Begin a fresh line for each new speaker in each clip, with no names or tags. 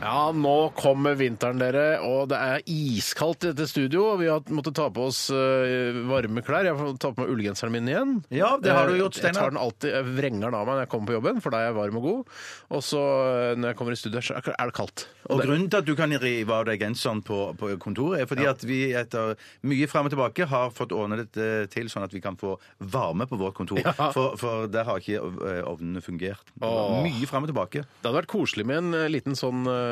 Ja, nå kommer vinteren, dere, og det er iskaldt i dette studio. og Vi har måttet ta på oss eh, varme klær. Jeg får ta på meg ullgenseren min igjen.
Ja, det har du gjort,
Eh, Jeg
Steinar.
tar den alltid, jeg vrenger den av meg når jeg kommer på jobben, for da er jeg varm og god. Og så eh, når jeg kommer i studio, så er det kaldt.
Og grunnen til at du kan rive av deg genseren på, på kontoret, er fordi at vi etter mye fram og tilbake har fått ordnet det til sånn at vi kan få varme på vårt kontor. For, for der har ikke eh, ovnene fungert. Det var
Åh.
Mye fram og tilbake.
Det hadde vært koselig med en eh, liten sånn, eh,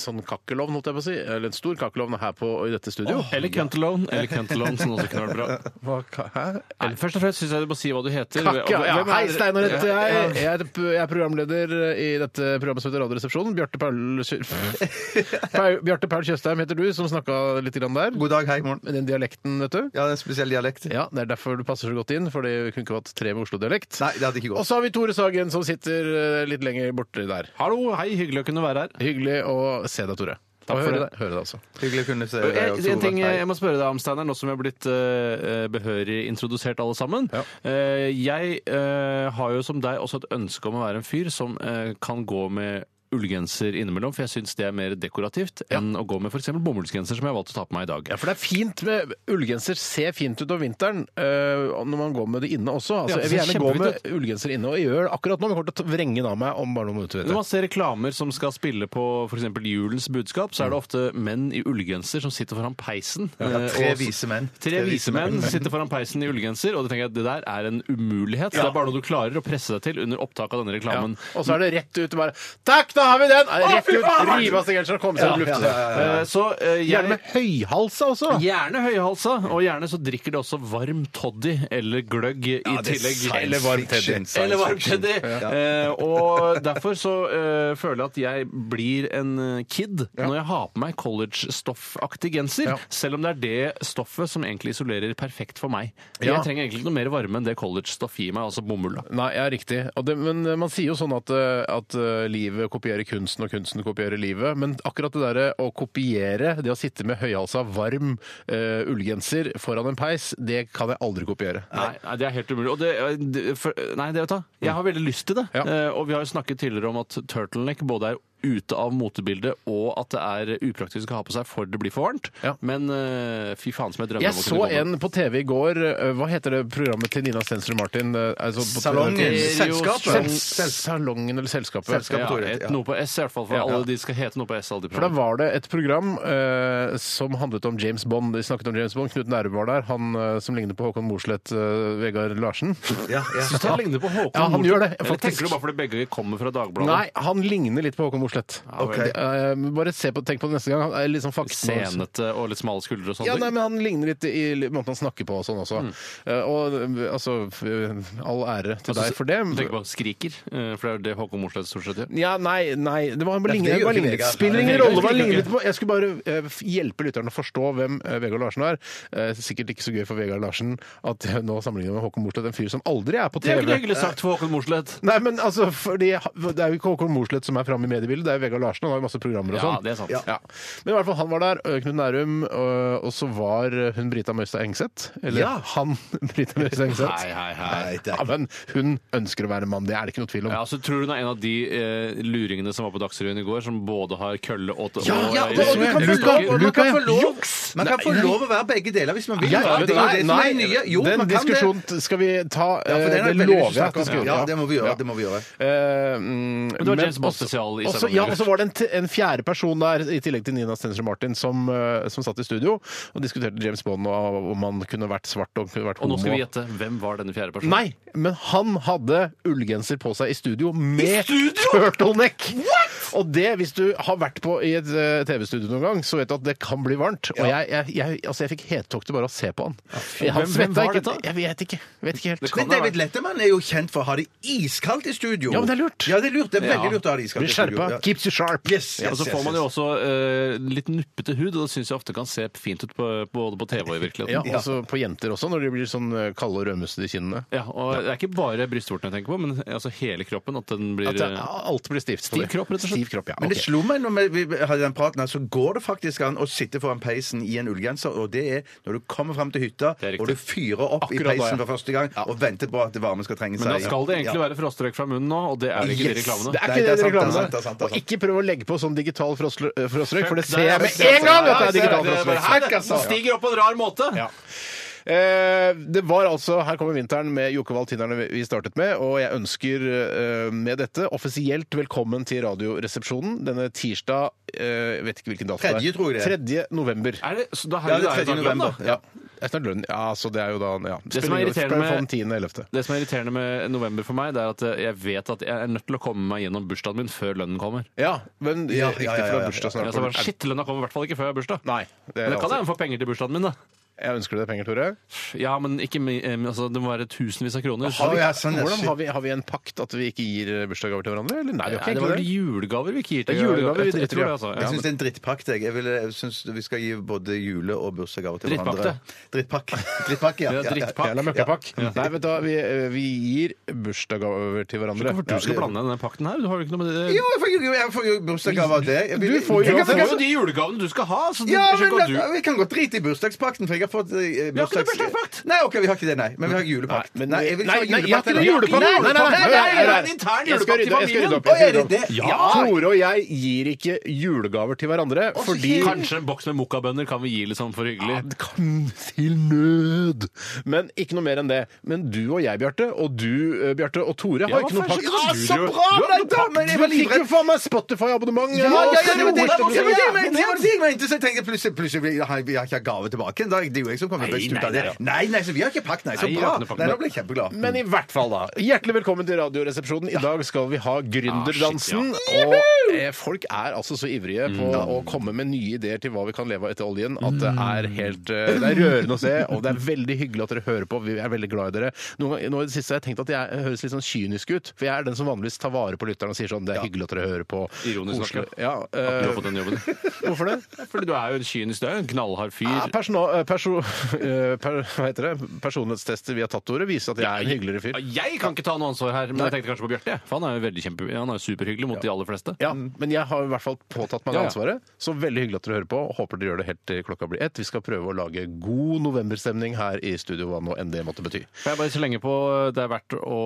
sånn kakkelovn, holdt jeg på å si. Eller en stor kakkelovn her på, i dette studio.
Eller Cuntalone, eller Cuntalone, som også kunne vært bra.
Hæ?
Nei, først og fremst syns jeg du må si hva du heter.
Takk, ja. ja.
Hvem er-
Hei, Steinar heter
Ja.
jeg. Jeg er, jeg er programleder i dette programmet som heter Radioresepsjonen. Bjarte Paul, Paul, Bjarte Paul Tjøstheim heter du, som snakka litt grann der.
God dag, hei, morgen.
Med den dialekten, vet du.
Ja, det er en spesiell dialekt.
Ja, Det er derfor du passer så godt inn, for det kunne ikke vært tre med Oslo-dialekt.
Nei, det hadde ikke
Og
gått.
så har vi Tore Sagen, som sitter eh, litt lenger borte der.
Hallo, hei, hyggelig å kunne være her.
Hyggelig å se deg, Tore.
Takk
Og
for
høre
det.
deg. Høre deg også.
Hyggelig å kunne se deg
Jeg,
også,
eh, en ting
Robert. Hei.
jeg må spørre deg om, Steinar, nå som vi har blitt eh, behørig introdusert alle sammen.
Ja.
Eh, jeg eh, har jo som deg også et ønske om å være en fyr som eh, kan gå med ullgenser innimellom, for jeg syns det er mer dekorativt enn å gå med f.eks. bomullsgenser, som jeg har valgt å ta på meg i dag.
Ja, for det er fint med ullgenser. Ser fint ut om vinteren øh, når man går med det inne også.
Ja,
Altså,
det
jeg vil
ser
gjerne gå
kjempefint
med ullgenser inne, og jeg gjør det akkurat nå. Men jeg kommer til å vrenge den av meg om bare noen minutter. Vet
Når man
jeg.
ser reklamer som skal spille på f.eks. julens budskap, så er det ofte menn i ullgenser som sitter foran peisen. eh,
tre
og-
vise menn.
Tre
Tre
vise
vise
menn sitter foran peisen i ullgenser, og da tenker jeg at det der er en umulighet. Det er bare noe du klarer å presse deg til under opptak av denne
Ja.
reklamen.
Og så er det rett ut og bare Takk, da har vi den! Er det Rett
fy
ut,
faen!
rive av seg genseren og komme seg ut i luften.
Eh, Så eh, jeg
Gjerne med høyhalsa også.
Gjerne høyhalsa, og gjerne så drikker de også varm toddy eller gløgg i
det er
tillegg.
science
Eller varm
fiction,
teddy.
science
Eller varm
fiction.
teddy. Eh, og derfor så eh, føler jeg at jeg blir en eh, kid når jeg har på meg college-stoffaktig genser,
Ja.
selv om det er det stoffet som egentlig isolerer perfekt for meg.
Ja.
Jeg trenger egentlig ikke noe mer varme enn det college-stoff gir meg, altså bomull. da.
Nei, ja, riktig. Og det, men man sier jo sånn at, eh, at eh, livet kopierer kunsten, og kunsten kopierer livet. Men akkurat det derre å kopiere, det å sitte med høyhalsa, varm eh, ullgenser foran en peis, det kan jeg aldri kopiere.
Nei, nei, det er helt umulig. Og det, det- for, nei, det vet du, hva, jeg har veldig lyst til det.
Mm. Ja.
Eh, og vi har jo snakket tidligere om at turtleneck både er ute av motebildet, og at det er upraktisk å ha på seg for det blir for varmt.
Ja.
Men eh, fy faen som jeg drømmer
Jeg
om å
så
kunne gå med.
en på TV i går. eh, Hva heter det programmet til Nina Stensrud Martin? eh, altså på-
Salongen.
Sel-
Selskapet.
sel- Salongen eller Selskapet.
Selskapet.
ja,
Tore,
et,
ja.
Noe på S i hvert fall, for
Ja.
alle de skal hete noe på S. alle de
For da
programmene.
var det et program eh, som handlet om James Bond. De snakket om James Bond. Knut Nærum var der. Han eh, som ligner på Håkon Mosleth, eh, Vegard Larsen.
Ja, ja.
Syns du han ligner på Håkon?
Ja, han
Nordtun?
gjør det,
Eller
faktisk.
tenker du bare fordi begge kommer fra Dagbladet?
Nei, han ligner litt på Håkon
vel.
Mosleth. Det, eh, bare se på, tenk på det neste gang. Han er litt sånn fakta.
Senete og litt smale skuldre og sånn.
Ja, nei, men Han ligner litt i i måten han snakker på og sånn også. Eh, og eh, altså, f- all ære til deg for det.
Du tenker bare skriker, eh, for det er jo det Håkon Mosleth stort sett gjør.
Ja, nei, nei det var bare
det
lignet,
gjør
bare
ikke
lignet.
Vegard.
Spiller ingen
Nei,
rolle hva
Vegard
han ligner
liker
litt på. Jeg skulle bare eh, f- hjelpe lytterne å forstå hvem eh, Vegard Larsen er. Eh, sikkert ikke så gøy for Vegard Larsen at jeg nå sammenligner med Håkon Mosleth, en fyr som aldri er på
Det er jo ikke noe
TV.
hyggelig sagt for Håkon Mosleth.
Nei, men altså, fordi, Det er jo ikke Håkon Mosleth som er framme i mediebildet, det er jo Vegard Larsen. Han har jo masse programmer og
Ja,
sånn.
det er sant.
Ja. Men i hvert fall han var der, ø, Knut Nærum, ø, og så var ø, hun Brita Møystad Engseth. Eller
Ja.
han Brita
Hei,
Møystad Engseth.
hei, hei.
Nei, det
Ja,
er
men hun ønsker å være mann, det er det ikke noe tvil om.
Ja, så Tror du hun er en av de eh, luringene som var på Dagsrevyen i går, som både har kølle og
Ja,
og-
ja, og du kan få
rullestokker?
lov- og man kan få lov-
Juks!
Man kan få lov å være begge deler hvis man vil.
Ja, ja,
det er jo det som er det nye. Jo,
den
man kan det.
diskusjonen skal vi ta.
Ja, for den
eh,
har jeg
det
veldig lyst til å
lover jeg at vi
snakke
skal
om.
gjøre.
Ja, det må vi gjøre. det må vi gjøre.
Eh, mm,
det var James Bond-spesial i
også,
samme
ja,
miljø.
og så var det en, t en fjerde person der, i tillegg til Nina Stensrud Martin, som, eh, som satt i studio og diskuterte James Bond og om han kunne vært svart og kunne vært
Og
homo.
nå skal vi gjette. Hvem var denne fjerde personen?
Nei, men han hadde ullgenser på seg i studio med turtleneck! Og det, hvis du har vært på i et eh, TV-studio noen gang, så vet du at det kan bli varmt. Og jeg, jeg, jeg, altså, jeg fikk hettokter bare av å se på han. Jeg, han
Hvem- hvem
svetta
var
ikke,
dette?
Jeg vet ikke. Vet ikke helt.
Men David Letterman er jo kjent for å ha det iskaldt i studio.
Ja, men det er lurt.
Ja, det er lurt. Det er veldig
Ja.
lurt å ha det iskaldt
Bli
i studio.
skjerpa.
Ja.
Keeps you sharp.
Yes, yes,
Ja, og så får
yes,
man jo
yes.
også eh, litt nuppete hud, og det syns jeg ofte kan se fint ut på, både på TV og i
Ja,
virkeligheten.
altså på jenter også, når de blir sånn eh, kalde og rødmussede i kinnene.
Ja, og Det er ikke bare brystvorten jeg tenker på, men altså hele kroppen. At den blir
At det, alt blir stivt.
Stiv kropp, rett og slett.
Stiv kropp, ja.
Men det
ok.
slo meg når vi hadde den praten her, så går det faktisk an å sitte foran peisen i en ullgenser, og det er når du kommer fram til hytta,
Det er riktig.
og du fyrer opp i
Akkurat da,
peisen
ja.
for første gang, og venter på at det varme skal trenge seg.
Men da skal det egentlig
Ja.
være frostrøyk fra munnen nå, og det er det ikke i de
Yes,
reklamene.
Det er
Nei,
ikke
det er
det,
sant, det er
reklamene.
sant, det er sant, det er
Og ikke prøv å legge på sånn digital frostlø- øh, frostrøyk, for det
Der
ser jeg med
ser jeg.
en gang at det
Ja,
er digital altså.
det altså. er bare,
frostløyk.
her, Den stiger opp på en rar måte!
Ja. Eh, Det var altså Her kommer vinteren med Jokke Wall Tinderne vi startet med, og jeg ønsker eh, med dette offisielt velkommen til Radioresepsjonen denne tirsdag eh, Jeg vet ikke hvilken dato det
Tredje,
er.
tror jeg det er.
3. november.
Er det, så da
Ja,
her,
det
er
er 3.
jo da-
november. Ja.
Det er snart lønn. Ja, så det er jo da ja.
som er irriterende med-
med 10. 11.
Det som er irriterende med november for meg, det er at eh, jeg vet at jeg er nødt til å komme meg gjennom bursdagen min før lønnen kommer.
Ja, men eh,
Ja, ja,
riktig,
ja, ja,
for det
ja.
er bursdag
Ja,
snart.
så bare, shit, lønna kommer i hvert fall ikke før jeg har bursdag.
Nei. Det
Men
er
da kan
alltid.
jeg få penger til bursdagen min, da.
Jeg ønsker deg penger, Tore.
Ja, men ikke, mi- eh, men altså, det må være tusenvis av kroner.
Har vi- Ja, sånn, ja,
Hvordan
shit.
har vi, har vi en pakt at vi ikke gir eh, bursdagsgaver til hverandre? Eller? Nei, vi
Nei,
har
det
ikke
var vel
egentlig det.
julegaver vi ikke gir
Det
til
er julegaver vi
Jeg- jeg
driter
tror
i, ja.
det, altså.
Jeg
Ja,
syns
men-
det er en drittpakt. Jeg, jeg, vil, jeg synes vi skal gi både jule- og bursdagsgaver til
Drittpakte.
hverandre. Drittpakke. Drittpakke, ja.
Ja,
ja, ja.
drittpakke.
Eller møkkapakk. Nei, vet du hva, vi, eh, vi gir bursdagsgaver til hverandre.
Hvorfor du skal blande deg i den pakten her? Du har jo ikke noe med det
Jo, jeg får jo- jeg får jo bursdagsgave av deg. Jeg vil-
Du får jo
Jeg kan-
Det er
uansett-
jo de julegavene du skal ha!
Ja,
Så ja,
men
men,
la- Vi kan godt drite i bursdagspakten, for jeg har fått eh, bursdags...
bursdagspakt!
Nei, ok, vi har ikke det, nei. Men vi har julepakt.
Nei, men-
jeg vil
Nei,
ikke ha
nei, jeg har
julepakt.
ikke noe
heller.
julepakt.
Nei,
Nei, nei, nei,
nei,
nei,
nei,
nei,
nei.
nei.
intern
Jeg
julepakt i
skal rydde- jeg skal rydde
familien!
opp. jeg
Å, er
skal rydde
det
opp.
det?
Ja, Tore og jeg gir ikke julegaver til hverandre fordi
Kanskje en boks med mokkabønner kan vi gi litt sånn for hyggelig.
Det kan til nød. Men ikke noe mer enn det. Men du og jeg, Bjarte, og du, eh, Bjarte, og Tore har
Ja,
ikke noe
kanskje
pakt.
ikke
Ja, så bra!
Du har ikke
Nei, da,
pakt.
men jeg var
Du fikk jo
livredd.
faen meg Spotify-abonnement!
Ja, ja, ja, det var det-
og-
det var det jeg mente! Det var det jeg mente, så jeg tenkte plutselig, plutselig vil jeg, ha- vil jeg ikke ha gave tilbake en dag. Det er jo jeg som kommer best ut av det. Nei, nei, så vi har ikke pakt, nei. Så
Nei, jeg
bra.
har ikke noe pakt.
Nei, nå ble jeg kjempeglad.
Men i hvert fall, da. Hjertelig velkommen til Radioresepsjonen. I dag skal vi ha gründerdansen.
Ah,
Og eh, folk er altså så ivrige på
Mm.
å komme med nye ideer til hva vi kan leve av etter oljen, at det er helt eh, Det er rørende å se, og det er veldig hyggelig at dere hører på. Vi er veldig glad i dere. Noen ganger, nå i det siste har jeg tenkt at jeg høres litt sånn kynisk ut, for jeg er den som vanligvis tar vare på lytterne og sier sånn Det er hyggelig at dere hører på.
Ironisk nok,
Koselig. Ja,
Du har
eh,
fått den jobben.
hvorfor det?
Fordi du er jo en kynisk, du er jo en knallhard fyr.
Ja, persona- eh, perso- eh, per, hva heter det? Personlighetstester via tatt-ordet viser at jeg er en hyggeligere fyr.
Jeg kan ikke ta noe ansvar her, men jeg tenkte kanskje på Bjarte. For han er jo veldig kjempe, han er jo superhyggelig mot de aller fleste.
Ja, Mm. men jeg har i hvert fall påtatt meg
Ja, ja.
ansvaret. Så veldig hyggelig at dere hører på. og Håper dere gjør det helt til klokka blir ett. Vi skal prøve å lage god novemberstemning her i studio, hva nå enn det måtte bety.
Får jeg bare så lenge på eh, det er verdt å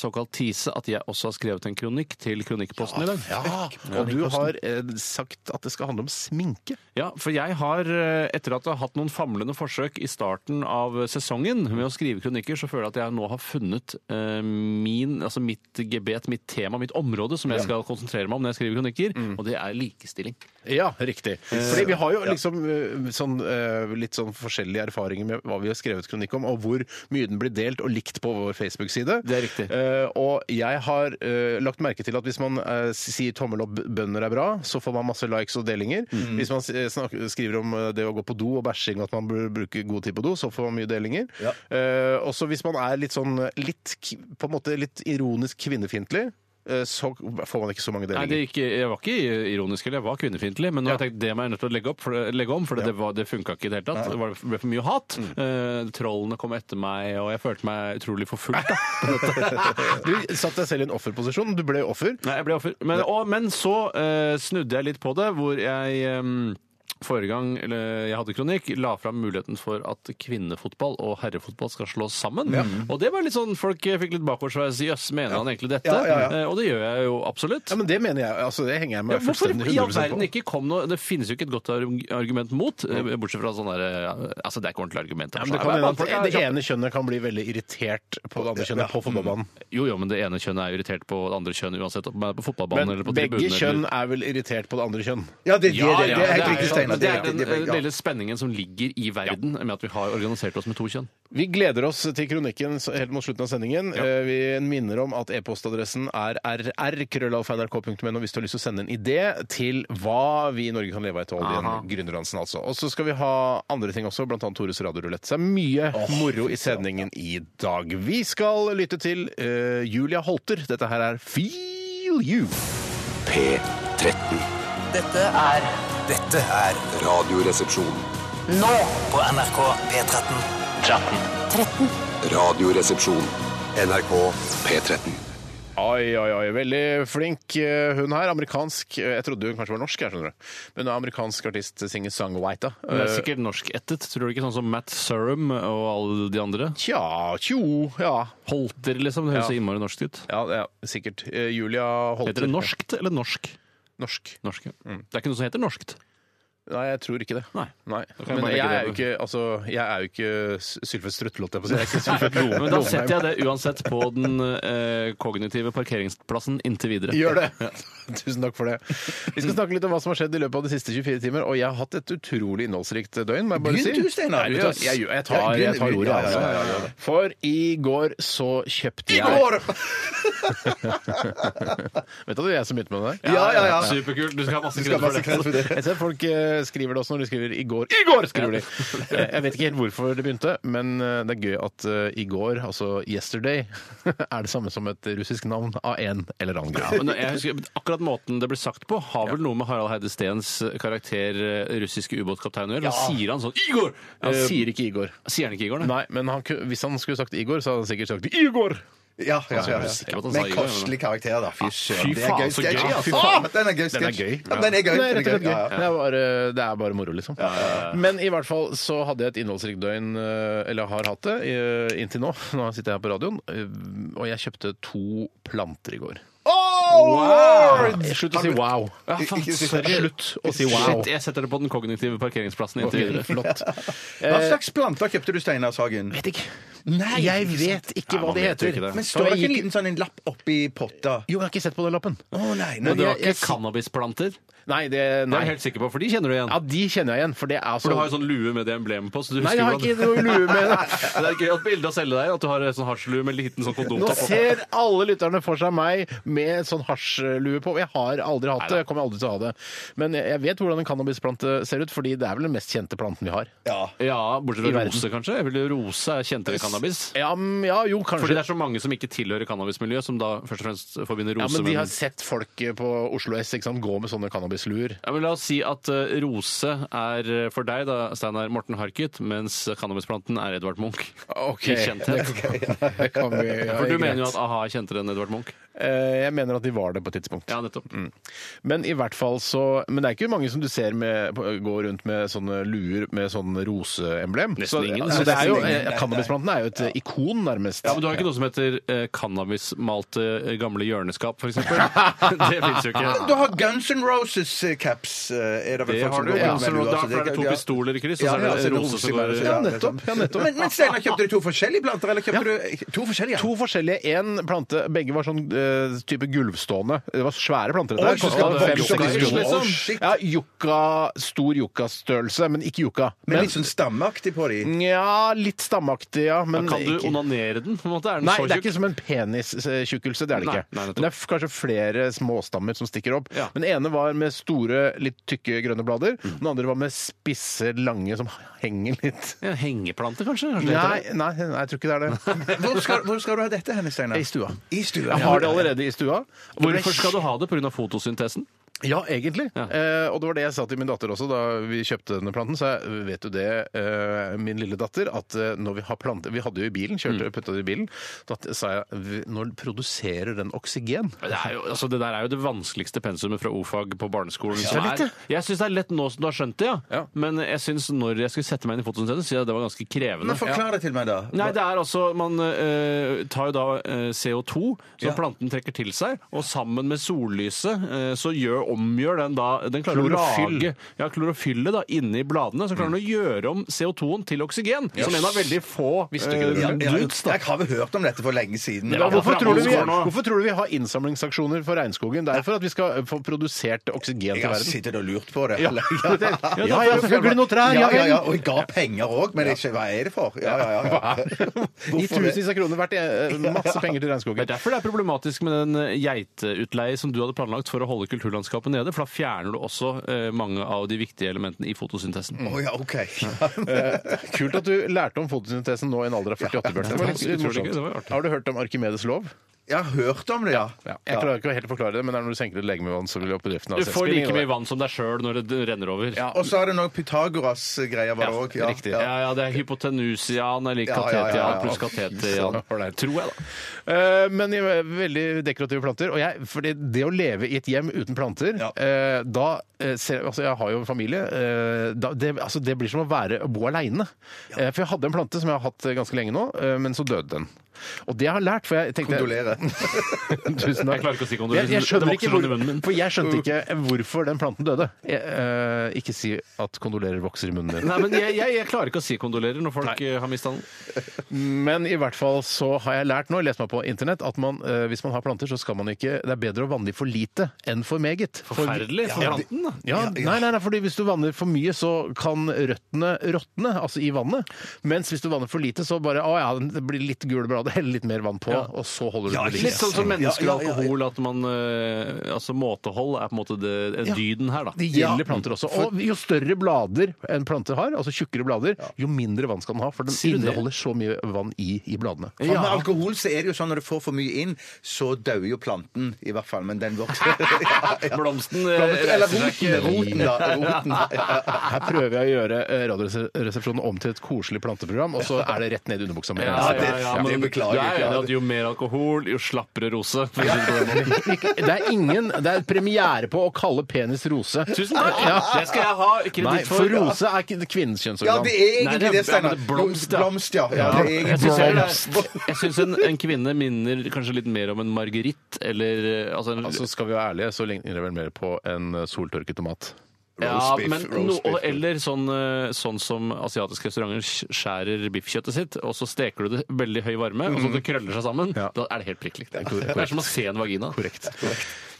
såkalt tease at jeg også har skrevet en kronikk til Kronikkposten i dag.
Ja, Og du har eh, sagt at det skal handle om sminke.
Ja, for jeg har, eh, etter at jeg har hatt noen famlende forsøk i starten av eh, sesongen med å skrive kronikker, så føler jeg at jeg nå har funnet eh, min, altså mitt gebet, mitt tema, mitt område som jeg skal konsentrere meg om når jeg skriver kronikker,
Mm.
og det er likestilling.
Ja, riktig. Fordi vi har jo liksom eh, sånn, eh, litt sånn forskjellige erfaringer med hva vi har skrevet kronikk om, og hvor mye den blir delt og likt på vår Facebook-side.
Det er riktig.
Eh, og jeg har eh, lagt merke til at hvis man eh, sier tommel opp, bønder er bra, så får man masse likes og delinger.
Mm.
Hvis man eh, snak- skriver om eh, det å gå på do og bæsjing og at man bør bruke god tid på do, så får man mye delinger.
Ja.
Eh, også hvis man er litt sånn eh, litt, k- på en måte litt ironisk kvinnefiendtlig, eh, så får man ikke så mange
Nei,
delinger.
det gikk, jeg var ikke ironisk, eller jeg var kvinnefiendtlig, men nå har jeg tenkt det må jeg nødt til å legge, opp, for, det- legge om, for det, var- det funka ikke i det hele tatt. Det var- Det ble for mye hat.
Mm.
Eh, trollene kom etter meg, og jeg følte meg utrolig forfulgt. da, på en måte.
Du satt deg selv i en offerposisjon. Du ble offer.
Nei, jeg ble offer. Men, og, men så eh, snudde jeg litt på det, hvor jeg em, Forrige gang eller, jeg hadde kronikk, la fram muligheten for at kvinnefotball og herrefotball skal slås sammen. Og det var litt sånn, folk eh, fikk litt bakoversveis. Jøss, mener han egentlig dette?
Ja, ja, ja.
Eh, Og det gjør jeg jo absolutt.
Ja, men Det mener jeg. altså Det henger jeg
Ja,
meg
hvorfor
fullstendig
i all
100
verden
på.
ikke kom noe Det finnes jo ikke et godt arg- argument mot, eh, bortsett fra sånn derre ja, Altså, det er ikke ordentlig argument.
Ja, men det, kan hende at det ene kjønnet kan bli veldig irritert på det andre kjønnet
Mm.
på fotballbanen.
Jo, jo, men det ene kjønnet er jo irritert på det andre kjønn uansett, om det er på fotballbanen
Men
eller på
begge
tribunen. eller-
kjønn er vel irritert på det andre kjønn.
Ja, det, det, det, det,
Ja, ja,
er
det
helt
er
riktig,
sant,
nei,
det er
riktig,
den
det er
eh,
riktig, ja.
lille spenningen som ligger i verden med at vi har organisert oss med to kjønn.
Vi gleder oss til kronikken så- helt mot slutten av sendingen. Eh, Vi minner om at e-postadressen er rr.krøllalfa.nrk.no hvis du har lyst til å sende en idé til hva vi i Norge kan leve av etter oljen. Gründerdansen, altså. Og så skal vi ha andre ting også, bl.a. Tores radiorulett. Så det er mye moro i sendingen i dag. Vi skal lytte til eh, Julia Holter. Dette her er Feel You.
P13.
Dette er Dette er
Radioresepsjon.
Nå på NRK P13.
Radioresepsjon.
NRK P13.
Oi, oi, oi. Veldig flink eh, hun her. Amerikansk eh, Jeg trodde hun kanskje var norsk, jeg skjønner du. Men hun er amerikansk artist, singer-songwriter.
Det er
Eh,
sikkert norskættet, tror du ikke? Sånn som Matt Surum og alle de andre.
Tja, tjo, ja.
Holter, liksom. Det høres så innmari norsk ut.
Ja, det er sikkert. Eh, Julia Holter. Mm.
Heter det norskt eller norsk?
Norsk.
Norsk, ja. Det er ikke noe som heter norskt.
Nei, jeg tror ikke det.
Nei.
Nei.
Da kan jeg
Men
bare
jeg
legge
er jo
det-
ikke, altså, jeg er jo ikke Sylfe Strutle, holdt jeg på å si. Jeg er ikke Sylfe
Men da setter jeg det uansett på den eh, kognitive parkeringsplassen inntil videre.
Gjør det! Tusen takk for det. Vi skal snakke litt om hva som har skjedd i løpet av de siste 24 timer, og jeg har hatt et utrolig innholdsrikt døgn, må jeg bare si.
Begynn du, Steinar.
Nei, vet du hva, Jeg, jeg, tar, jeg tar ordet,
Ja, ja, ja,
altså. For i går så kjøpte jeg Vet du at det er jeg som begynte med det der?
Ja, ja, ja.
Superkult. Du skal ha masse
Du skal ha masse
kreditt for det.
kreditt for det.
Jeg ser folk eh, skriver det også når de skriver 'i går'. I går skriver de! Eh, Jeg vet ikke helt hvorfor det begynte, men eh, det er gøy at eh, i går, altså 'yesterday', er det samme som et russisk navn av en eller annen grunn.
Ja, men jeg husker, akkurat måten det ble sagt på, har vel noe med Harald Heide Steens karakter eh, russiske ubåtkaptein å gjøre? Da sier han sånn Igor!
Han
Eh,
sier ikke 'Igor'.
sier han ikke Igor, nei?
Nei, men han, ku- hvis han skulle sagt 'Igor', så hadde han sikkert sagt 'Igor'!
Ja, ja, ja, ja.
Sikker på at han sa
Med
Igor,
kostelig karakter, da. Fy søren.
fy
Det er
faen,
gøy
så
sketsj,
gøy.
altså.
Fy
Den er gøy
Den er
sketsj.
gøy.
Ja, Den er gøy.
Nei, rett og slett
Den er
gøy.
Ja, ja.
Det, er bare, det er bare moro, liksom. Men i hvert fall så hadde jeg et innholdsrikt døgn, eh, eller har hatt det, eh, inntil nå. Nå sitter jeg her på radioen, eh, og jeg kjøpte to planter i går. Slutt å si wow.
Ja, faen,
Ikke si-
sorry.
Slutt å si wow.
Shit, jeg setter det på den kognitive parkeringsplassen inntil videre.
Flott.
Hva slags planter kjøpte du, Steinar Sagen?
Vet ikke.
Nei,
Jeg vet ikke
Nei,
hva
man
de
vet jo
heter.
ikke det.
Men
Så
står det
jeg
ikke en
gikk-
liten sånn en lapp oppi potta?
Jo, jeg har ikke sett på den lappen.
Å, nei, nei.
Men det var
jeg- jeg
ikke
si-
cannabisplanter? Det
Nei, det,
er
nei.
jeg helt sikker på, for de kjenner du igjen.
Ja, de kjenner jeg igjen, for det er altså
For du har jo sånn lue med det emblemet på. Så du
Nei, jeg har
husker
ikke
hvordan-
noe lue med det.
Men Det er et gøyalt bilde å selge deg, at du har en sånn hasjlue med liten sånn
Nå
kondomtopp. oppå.
ser alle lytterne for seg meg med sånn hasjlue på. Jeg har aldri hatt det. Jeg kommer aldri til å ha det. Men jeg- jeg vet hvordan en cannabisplante ser ut, fordi det er vel den mest kjente planten vi har.
Ja, bortsett
I
fra
verden.
rose, kanskje. Jeg vil jo rose er kjentere enn cannabis.
Ja, mm, ja jo,
Fordi det
kanskje.
er så mange som ikke tilhører cannabismiljøet, som da først og fremst forbinder
Ja,
rose
men
med
De har sett folk eh, på Oslo S ikke sant, gå med sånne cannabisluer.
Ja, men La oss si at eh, rose er eh, for deg, da, Steinar Morten Harket, mens cannabisplanten er Edvard Munch.
Ok.
I kjenthet.
Det kan vi- ja,
For du
greit.
mener jo at a-ha er kjentere enn Edvard Munch.
Eh, Jeg mener at de var det på et tidspunkt.
Ja, nettopp.
Mm. Men i hvert fall så Men det er ikke mange som du ser med, på- går rundt med sånne luer med sånn roseemblem. Så,
ingen.
så det er jo,
Nesten ingen.
eh, Cannabisplanten er jo et eh, ikon, nærmest.
Ja, Men du har ikke noe som heter eh, cannabismalte eh, gamle hjørneskap, f.eks.? det fins jo ikke.
Du har Guns N' Roses-caps. eh, Er det vel
Det
folk
har
som
du.
går
Ja,
rundt
så
med lua, så
derfor er altså, det to
ja.
pistoler i kryss, og
Ja,
så
ja,
er det rose som går
i-
Ja, nettopp, ja, nettopp.
Men, men Steinar, kjøpte du to forskjellige planter, eller kjøpte du eh, to forskjellige?
To forskjellige. Én plante, begge var sånn eh, type gulvstående. Det var svære planter. dette
Oi,
her.
så
Kostet
skal det være
fem, seks
yucca-ish,
kroner.
liksom?
Å, shit. Ja, yucca, stor yucca-størrelse, men ikke yucca.
Men
Men Mm.
litt sånn stammeaktig på de.
ja, litt stammeaktig, ja. Men
Kan du
ikke-
onanere den? på en måte? Er den
Nei,
så
det er
tjukk?
ikke som en penistjukkelse. Det er det
Nei, nei,
ikke.
nettopp.
Men det er f- kanskje flere småstammer som stikker opp.
Ja.
Men den ene var med store, litt tykke grønne blader. Den andre var med spisse, lange som henger litt.
Ja, hengeplante, kanskje? kanskje det heter
Nei,
det?
nei, nei, jeg tror ikke det er det.
Hvor skal, hvor skal du ha dette henne, Steinar?
I stua.
I stua.
Jeg har det allerede i stua.
Hvorfor skal du ha det? Pga. fotosyntesen?
Ja, egentlig. Eh, og det var det jeg sa til min datter også da vi kjøpte denne planten. Så jeg vet jo det, eh, min lille datter, at eh, når vi har planter Vi hadde jo i bilen, kjørte putta det i bilen. Da sa jeg "Vi- Når produserer den oksygen?
Det, er jo, altså, det der er jo det vanskeligste pensumet fra O-fag på barneskolen.
Ja,
som
det er litt
er, jeg syns det er lett nå som du har skjønt det, ja.
Ja.
men jeg synes når jeg skulle sette meg inn i fotosyntesen, synes jeg det var ganske krevende.
Men Forklar det til meg, da.
Nei, det er altså Man eh, tar jo da eh, CO2,
Ja.
som planten trekker til seg, og sammen med sollyset eh, så gjør omgjør den da Den klarer å
Klorofyll.
lage ja, klorofyllet da, inni bladene. Så klarer den å gjøre om CO2-en til oksygen, som en av veldig få
Visste ikke
eh,
det.
Ja, ja,
dudes, da.
jeg har vel hørt om dette for lenge siden.
Men da, hvorfor,
fra
tror du vi,
Ansgar nå.
hvorfor tror du vi har innsamlingsaksjoner for regnskogen? Det er for at vi skal eh, få produsert oksygen
Jeg
til
har
verden.
sittet og lurt på det.
Ja, ja, det- ja, ja, selvfølgelig noen trær,
Ja, ja,
ja vel.
ja, og jeg ga penger òg, men jeg, hva er det for? Ja, ja, ja, ja.
I
Hvorfor det?
tusenvis av kroner hvert eh, masse penger
Det
til
er
regnskogen.
derfor det er problematisk med den eh, geiteutleie som du hadde planlagt for å holde kulturlandskapet nede, for da fjerner du også eh, mange av de viktige elementene i fotosyntesen.
Å ja, OK.
Eh, Kult at du lærte om fotosyntesen nå i en alder av 48, Bjørn. Det var litt
Det var utrolig gøy, det var
morsomt.
artig.
Har du hørt om Arkimedes lov?
Jeg har hørt om det, ja.
Jeg klarer ikke å helt forklare det, men det er når du senker et legeme med vann, så vil jo bedriften ha
Du får
selvspilling,
like mye
og-
vann som deg sjøl når det renner over.
Ja.
Og så er det noe Pythagoras-greier var det
Ja,
òg.
riktig.
Ja, ja, det er hypotenusian
Ja,
eller
ja, ja,
katetian
ja.
pluss katetian.
Så ålreit.
Tror jeg, da.
Eh, Men i- veldig dekorative planter. Og jeg, for det, det å leve i et hjem uten planter
Ja.
eh, Da eh, ser, Altså, jeg har jo en familie. eh, Da, det, altså, det blir som å være å bo aleine. Eh, For jeg hadde en plante som jeg har hatt eh, ganske lenge nå, eh, men så døde den. Og det jeg har lært, for jeg tenkte
Kondolerer.
Tusen takk.
Jeg klarer ikke å si kondolerer.
Jeg, jeg skjønner
Det
ikke
vokser
hvor,
under munnen min.
for jeg skjønte ikke hvorfor den planten døde. Jeg, eh, ikke si at kondolerer vokser i munnen din.
Nei, men jeg, jeg, jeg klarer ikke å si kondolerer når folk eh, har mista den.
Men i hvert fall så har jeg lært nå, jeg lest meg på internett, at man, eh, hvis man har planter, så skal man ikke Det er bedre å vanne de for lite enn for meget. For-
Forferdelig for
Ja,
planten, da.
Ja, nei, nei, nei, fordi hvis du vanner for mye, så kan røttene råtne, altså i vannet. Mens hvis du vanner for lite, så bare å ja, det blir litt gule blader, hell litt mer vann på, og så holder du det ved
Litt
like.
sånn som mennesker og
Ja, ja, ja.
alkohol, at man eh, Altså måtehold er på en måte det, er
Ja.
dyden her,
Det
da.
gjelder planter også. Og jo større blader en plante har, altså tjukkere blader, jo mindre vann skal den ha, for den
Si det.
inneholder så mye vann i, i bladene.
For Med alkohol så er det jo sånn når du får for mye inn, så dauer jo planten, i hvert fall. Men den vokser. Ja, ja.
Blomsten eh,
Eller
reiser seg
roten. Roten,
ikke.
da. Roten.
Her prøver jeg å gjøre eh, Radioresepsjonen om til et koselig planteprogram, og så er det rett ned i underbuksa mi.
Ja,
Ja,
ja, ja,
det
men
beklager
Du er
jeg.
enig i at jo mer alkohol, jo slappere rose. for å si det på den måten.
Ikke- Det er ingen Det er premiere på å kalle penis rose.
Tusen takk!
Ja.
Det skal jeg ha
Nei,
kreditt
for
for.
rose er ikke kvinnens
Ja,
kjønnsorgan.
det er
Nei,
egentlig
det er-
det, Steinar.
ja, men det er blomst, ja.
Blomst, ja. ja. Det er
Jeg syns
egentlig
heller- jeg syns en, en kvinne minner kanskje litt mer om en margeritt eller eh, altså en,
Altså, skal vi være ærlige, så ligner det vel mer på en eh, soltørket tomat.
ja,
roast beef,
men
roast
no,
beef.
Eller sånn, eh, sånn som asiatiske restauranter sk- skjærer biffkjøttet sitt, og så steker du det i veldig høy varme, og
Mhm.
så det krøller seg sammen.
Ja.
Da er det helt prikk likt. Det
korrekt.
er som å se en vagina.
Korrekt.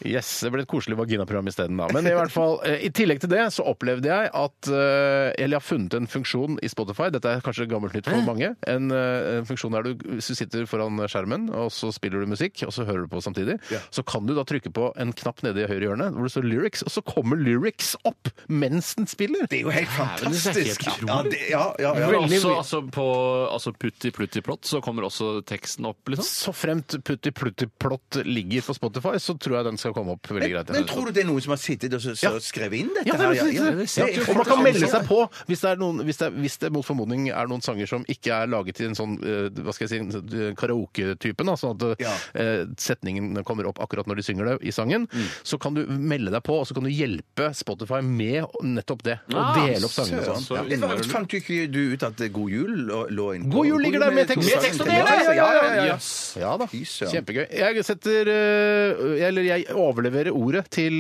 Yes, Det ble et koselig vaginaprogram isteden, da. Men i hvert fall, eh, i tillegg til det så opplevde jeg at eh, Eller jeg har funnet en funksjon i Spotify, dette er kanskje gammelt nytt for mange. En, eh, en funksjon der du, hvis du sitter foran skjermen og så spiller du musikk, og så hører du på samtidig, så kan du da trykke på en knapp nede i høyre hjørne hvor det står lyrics, og så kommer lyrics opp mens den spiller!
Det er jo helt
men det er
fantastisk.
helt
Ja, det, ja, ja, ja.
Men
Veldig
også,
mye.
altså på altså Putti Plutti Plott så kommer også teksten opp, liksom.
Så fremt Putti Plutti Plott ligger på Spotify, så tror jeg den skal komme opp veldig greit.
Men tror du det er noen som har sittet og så, så skrevet inn dette?
Ja, det er
her? ja,
nesten ikke
er
det.
jo
Og man kan
folk
melde
som-
seg på hvis det, er noen, hvis, det er, hvis det mot formodning er noen sanger som ikke er laget i en sånn eh, hva skal jeg si, en sånn, eh, karaoke-typen, da, sånn at
Ja.
eh, setningen kommer opp akkurat når de synger det i sangen, så kan du melde deg på, og så kan du hjelpe Spotify med nettopp det. Og
Ah,
dele opp sangene
søren.
sånn.
Så
Det var,
innmari-
fant jo ikke du ut at God jul lå- lå inn
God jul ligger der med tekst.
Med tekst og
Ja, ja, ja,
dele!
ja, ja, ja.
Jøss.
Ja da.
Fy søren.
Kjempegøy. Jeg setter eh, Eller jeg overleverer ordet til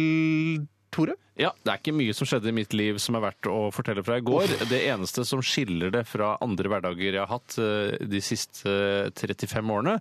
Tore.
Ja, Det er ikke mye som skjedde i mitt liv som er verdt å fortelle fra i går. Det eneste som skiller det fra andre hverdager jeg har hatt eh, de siste 35 årene,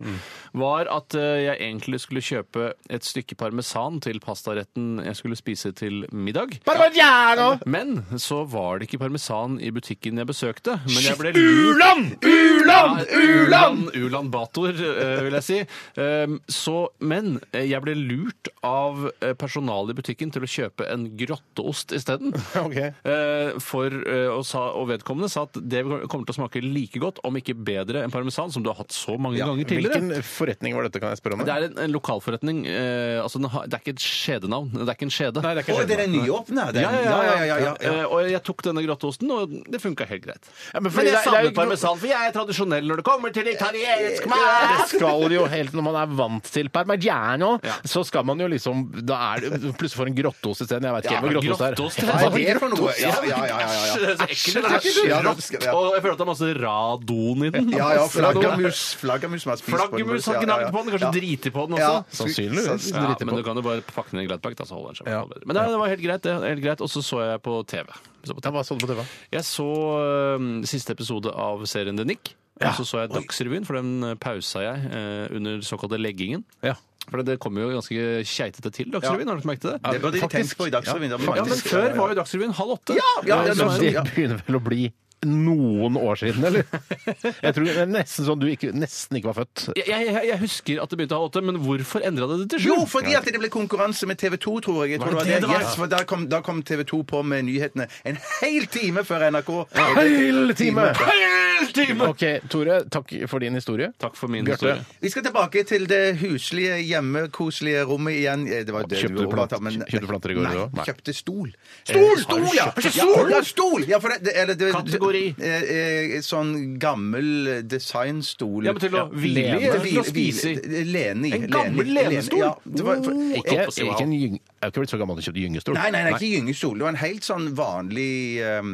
var at eh, jeg egentlig skulle kjøpe et stykke parmesan til pastaretten jeg skulle spise til middag.
Parmigiano!
Men så var det ikke parmesan i butikken jeg besøkte. Men jeg ble
U-land! U-land! U-land!
U-land! U-land Bator, eh, vil jeg si. Ehm, så, men eh, jeg ble lurt av eh, personalet i butikken til å kjøpe en grotteost isteden.
Ok.
Eh, for, eh, og, sa, og vedkommende sa at det kommer til å smake like godt, om ikke bedre, enn parmesan, som du har hatt så mange ganger tidligere.
Hvilken forretning var dette, kan jeg spørre om?
Det er en, en lokalforretning. Eh, altså, den har, det er ikke et skjedenavn. Det er ikke en skjede.
Nei, det er ikke
Å, det er den nyåpna? den.
Ja, ja, ja. ja,
ja, ja, ja.
Eh, og jeg tok denne grotteosten, og det funka helt greit.
men
men,
fordi det
jeg savner
er- det er jo ikke noe-
parmesan, for jeg er tradisjonell når det kommer til italiensk
Det
mat!
skal jo helt Når man er vant til parmigiano,
Ja.
så skal man jo liksom Da er det plutselig for en grotteost isteden. Jeg veit ikke hjem og grotte oss der.
Grotte oss
Hva
sånn-
der.
er det for noe?
Ja, ja, ja. ja, ja.
Æsj, det er så ekkelt.
det er
Æsj,
ekkelt. Ja,
røft.
da skal- ja.
Og jeg føler at det er masse radon i den.
Ja, ja, flaggermus, flaggermus som har spist
Flaggermus har
Ja, ja,
gnagd
ja.
på den, kanskje
Ja.
driti på den
Ja.
også.
Sannsynligvis.
Ja,
Driter
men
på.
du kan jo bare pakke ned i Gladpack, da, så holder den seg.
Ja.
bedre. Men det, det var helt greit, det. Helt greit. Og så så jeg på TV. Så på
Ja,
TV.
hva så du på TV?
Jeg så øhm, siste episode av serien The Nick. Og så så jeg Dagsrevyen, for den øh, pausa jeg øh, under såkalte leggingen.
Ja.
For det kommer jo ganske keitete til Dagsrevyen, har du ikke merket det?
Det burde de
Faktisk.
tenkt på i Dagsrevyen. Det var
Ja,
mange-
men før var jo Dagsrevyen halv åtte.
ja, ja,
Som er-
Det begynner vel å bli noen år siden, eller? Jeg tror det er nesten sånn du ikke, nesten ikke var født.
jeg, jeg, jeg husker at det begynte halv åtte, men hvorfor endra det det til sju?
Jo, fordi at det ble konkurranse med TV 2, tror jeg. jeg tror
Var
det
det
var det
det det var?
Yes, for da kom, da kom TV 2 på med nyhetene en hel time før NRK.
Hele time!
Helt time!
OK, Tore, takk for din historie.
Takk for min
Bjarte.
historie.
Vi skal tilbake til det huslige, hjemmekoselige rommet igjen. Eh, Det var det
Kjøpte du
overtar,
plant-
men-
kjøpte du planter i går, du også?
Nei,
Nei. Eh,
kjøpte stol. Stol! Stol, ja!
kjøpt
Ja,
stol?
Ja, stol! Ja, for det, det, eller det,
Kategori.
eh, eh, Sånn gammel designstol.
Ja, men til å hvile i,
Til
eller til å spise i?
hvile- Lene i.
En
lene i,
gammel
lene i.
lenestol? Mm.
Ja, det var, for,
Ikke
Jeg,
opp og si wow.
ikke en gyng, jeg har ikke blitt så gammel at du kjøpte gyngestol.
Nei, nei, nei, ikke gyngestol. Det var en helt sånn vanlig ehm,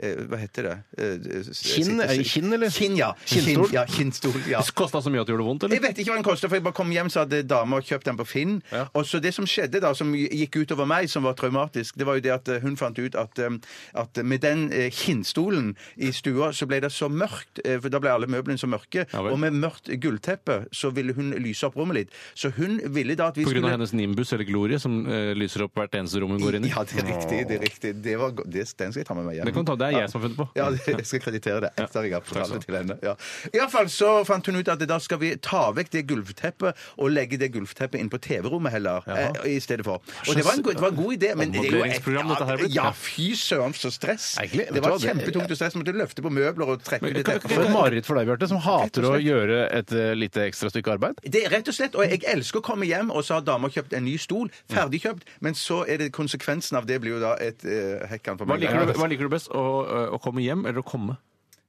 eh, Hva heter det? Eh, s-
Kinn,
sitte-
er det kinn, eller?
Kinn, ja.
Kinnstol?
Kinn, ja, kinnstol, ja.
Kosta så mye at det gjorde vondt,
Jeg
eller?
vet ikke hva den koster, for jeg bare kom hjem så hadde dama kjøpt den på Finn. Og så Det som skjedde da, som gikk utover meg, som var traumatisk, det var jo det at eh, hun fant ut at, eh, at med den eh, kinnstolen i stua så ble det så mørkt, eh, for da ble alle møblene så mørke,
Ja vel.
og med mørkt gullteppe så ville hun lyse opp rommet litt. Så hun ville da at vi
På
skulle
grunn av hennes nimbus eller glorie, som eh, lyser opp hvert eneste rom hun går inn i.
Ja, det er riktig. det er riktig. Det var, go- det, den skal jeg ta med meg hjem.
Det kan du ta, det er jeg som har funnet på.
Ja, det- jeg skal kreditere det etter jeg har fortalt
skal
det til henne. Ja. I hvert fall så fant hun ut at da skal vi ta vekk det gulvteppet og legge det gulvteppet inn på TV-rommet heller, eh, i stedet for. Og det var en, go- det var en god idé, men det er jo
Omvurderingsprogram dette her er
ja,
blitt.
ja, fy søren, så stress!
Egentlig, vet
Det
du
var
hva, det-
kjempetungt og stress. Måtte løfte på møbler og trekke ut det teppet.
For et mareritt for deg, Bjarte, som hater å gjøre et eh, lite ekstra stykke arbeid.
Det er rett og slett, og jeg elsker å komme hjem, og så har dama kjøpt en ny stol, ferdigkjøpt, men så er det konsekvensen av det blir jo da et eh, hekkan for
Hva
meg.
liker, du, hva liker du best, å, eh, å komme hjem eller å komme?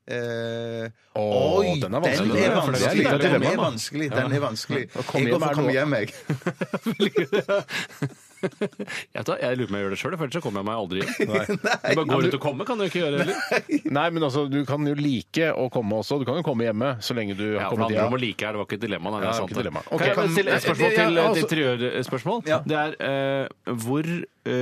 Eh,
Åh,
oi,
den er vanskelig.
Den er
Ja, for det er
vanskelig.
litt av et
Den
dilemma,
er
da.
vanskelig. Den er vanskelig.
Å
Jeg
komme hjem
går for
er
å komme
noe-
hjem, jeg.
jeg, vet, da, jeg lurer på om jeg gjør det sjøl, for ellers så kommer jeg meg aldri hjem. Jeg bare går rundt og kommer, kan du ikke gjøre heller.
Nei, men altså, du kan jo like å komme også. Du kan jo komme hjemme så lenge du
Ja,
har
for det
kommet
handler om
hjem.
å like her, det var ikke et dilemma. Nei, det er
Ja, det var
sant,
ikke
det.
et dilemma.
Kan
Ok,
jeg bare
men-
stille et spørsmål
Ja,
til eh, et
altså-
interiørspørsmål?
Ja.
Det er eh, hvor eh,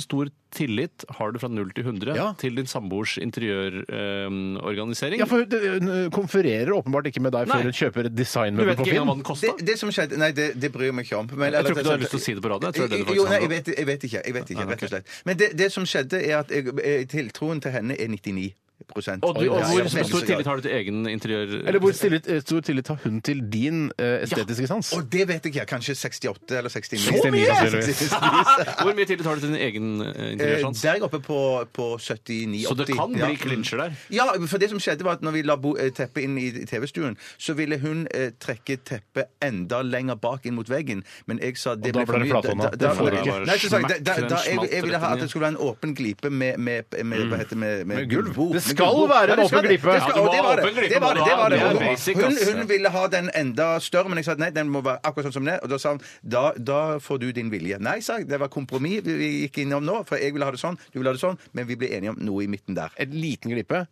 stor tillit har du fra 0 til 100
Ja.
til din samboers interiørorganisering?
Ja, for hun hun konfererer åpenbart ikke med deg
Nei.
før hun kjøper et
du
designmøbel
vet
på
ikke engang hva
Finn.
den kosta?
Det, det som skjedde Nei, det, det bryr jeg meg ikke om. Men-
Jeg tror ikke du har lyst til å si det på radio. Jeg tror det er det du faktisk
jo, nei,
handler
jeg
om.
vet, jeg vet ikke. Jeg vet ikke, rett og slett. Men det, det som skjedde, er at jeg, eh, tiltroen til henne er 99
Og, du, og
Ja, ja,
hvor
veldig
stor
så-
tillit har du til egen interiør...
Eller hvor stillit, eh, stor tillit har hun til din eh, estetiske sans?
Og det vet jeg ikke. Kanskje 68 eller 69.
Så mye!
69,
Hvor mye tillit har du til din egen eh,
Eh,
interiørsans?
Der oppe på, på 79-80.
Så det kan bli klinsjer der.
Ja, for det som skjedde var at når vi la bo- eh, teppet inn i TV-stuen, så ville hun eh, trekke teppet enda lenger bak inn mot veggen, men jeg sa det
Og da ble det
for mye. Da-
flathånda.
da-
Det får du
ikke.
Nei, så sa jeg, da, da, da, jeg, jeg ville ha at
Smatt rett inn i.
det skulle være en åpen glipe med, med, med, hva heter det, med, med,
Med gulv.
gulvbord.
Det
Med
skal
gulvbord.
være en
Ja, det skal
åpen
det.
glipe.
Det
Ja,
skal-
det
og
må
det var
åpen glipe
det. Det var det.
må du
det,
ha.
var det.
Det er
Og- og-
basic,
Hun,
ass.
hun ville ha den enda større, men jeg sa nei, den må være akkurat sånn som den er. Og da sa hun da, da får du din vilje. Nei, sa jeg. Det var kompromiss vi- vi gikk innom nå, for jeg ville ha det sånn, du ville ha det sånn, men vi ble enige om noe i midten der.
En liten glipe?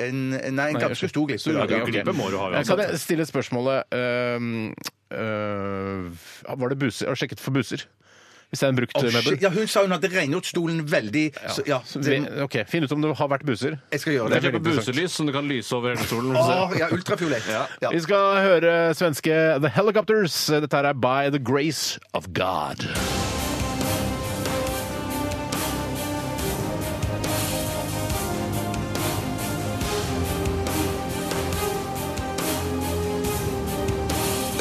En, nei, en ganske stor glipe.
Stor
da.
glipe. Glipe må du ha uansett.
Kan jeg stille spørsmålet ehm, eh, Var det buser? Har du sjekket for buser? Hvis det er en brukt
Å,
møbel?
shit. Ja, hun sa hun hadde rengjort stolen veldig. Så, ja,
eh, Så
det,
vi- OK, finn ut om det har vært buser.
jeg skal gjøre
Du
det.
kjøper buselys som du kan lyse over hele stolen.
Åh, ja, ultrafiolett. Ja.
Vi skal høre svenske The Helicopters. Dette her er By the Grace of God.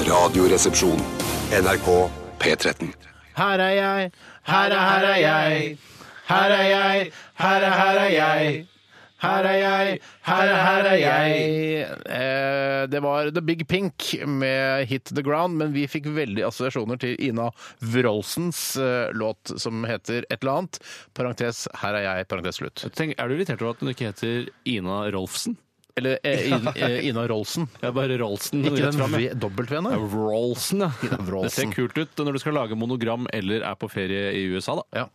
Radioresepsjon.
NRK P13.
Her er jeg, her er, her er jeg. Her er jeg, her er, her er jeg. Her er jeg, her er, her er jeg. Eh, det var The Big Pink med Hit The Ground, men vi fikk veldig assosiasjoner til Ina Wrolsens eh, låt som heter et eller annet. Parentes her er jeg, parentes slutt.
Tenk, er du irritert over at hun ikke heter Ina Rolfsen?
Eller eh, I- eh, Ina Rolsen.
Det er bare Rolfsen.
Ikke
rett
den
frem, ja.
V- dobbelt-V-en,
Det
da.
er Rolfsen, ja.
Ina Rolfsen.
Det ser kult ut når du skal lage monogram eller er på ferie i USA, da.
Ja.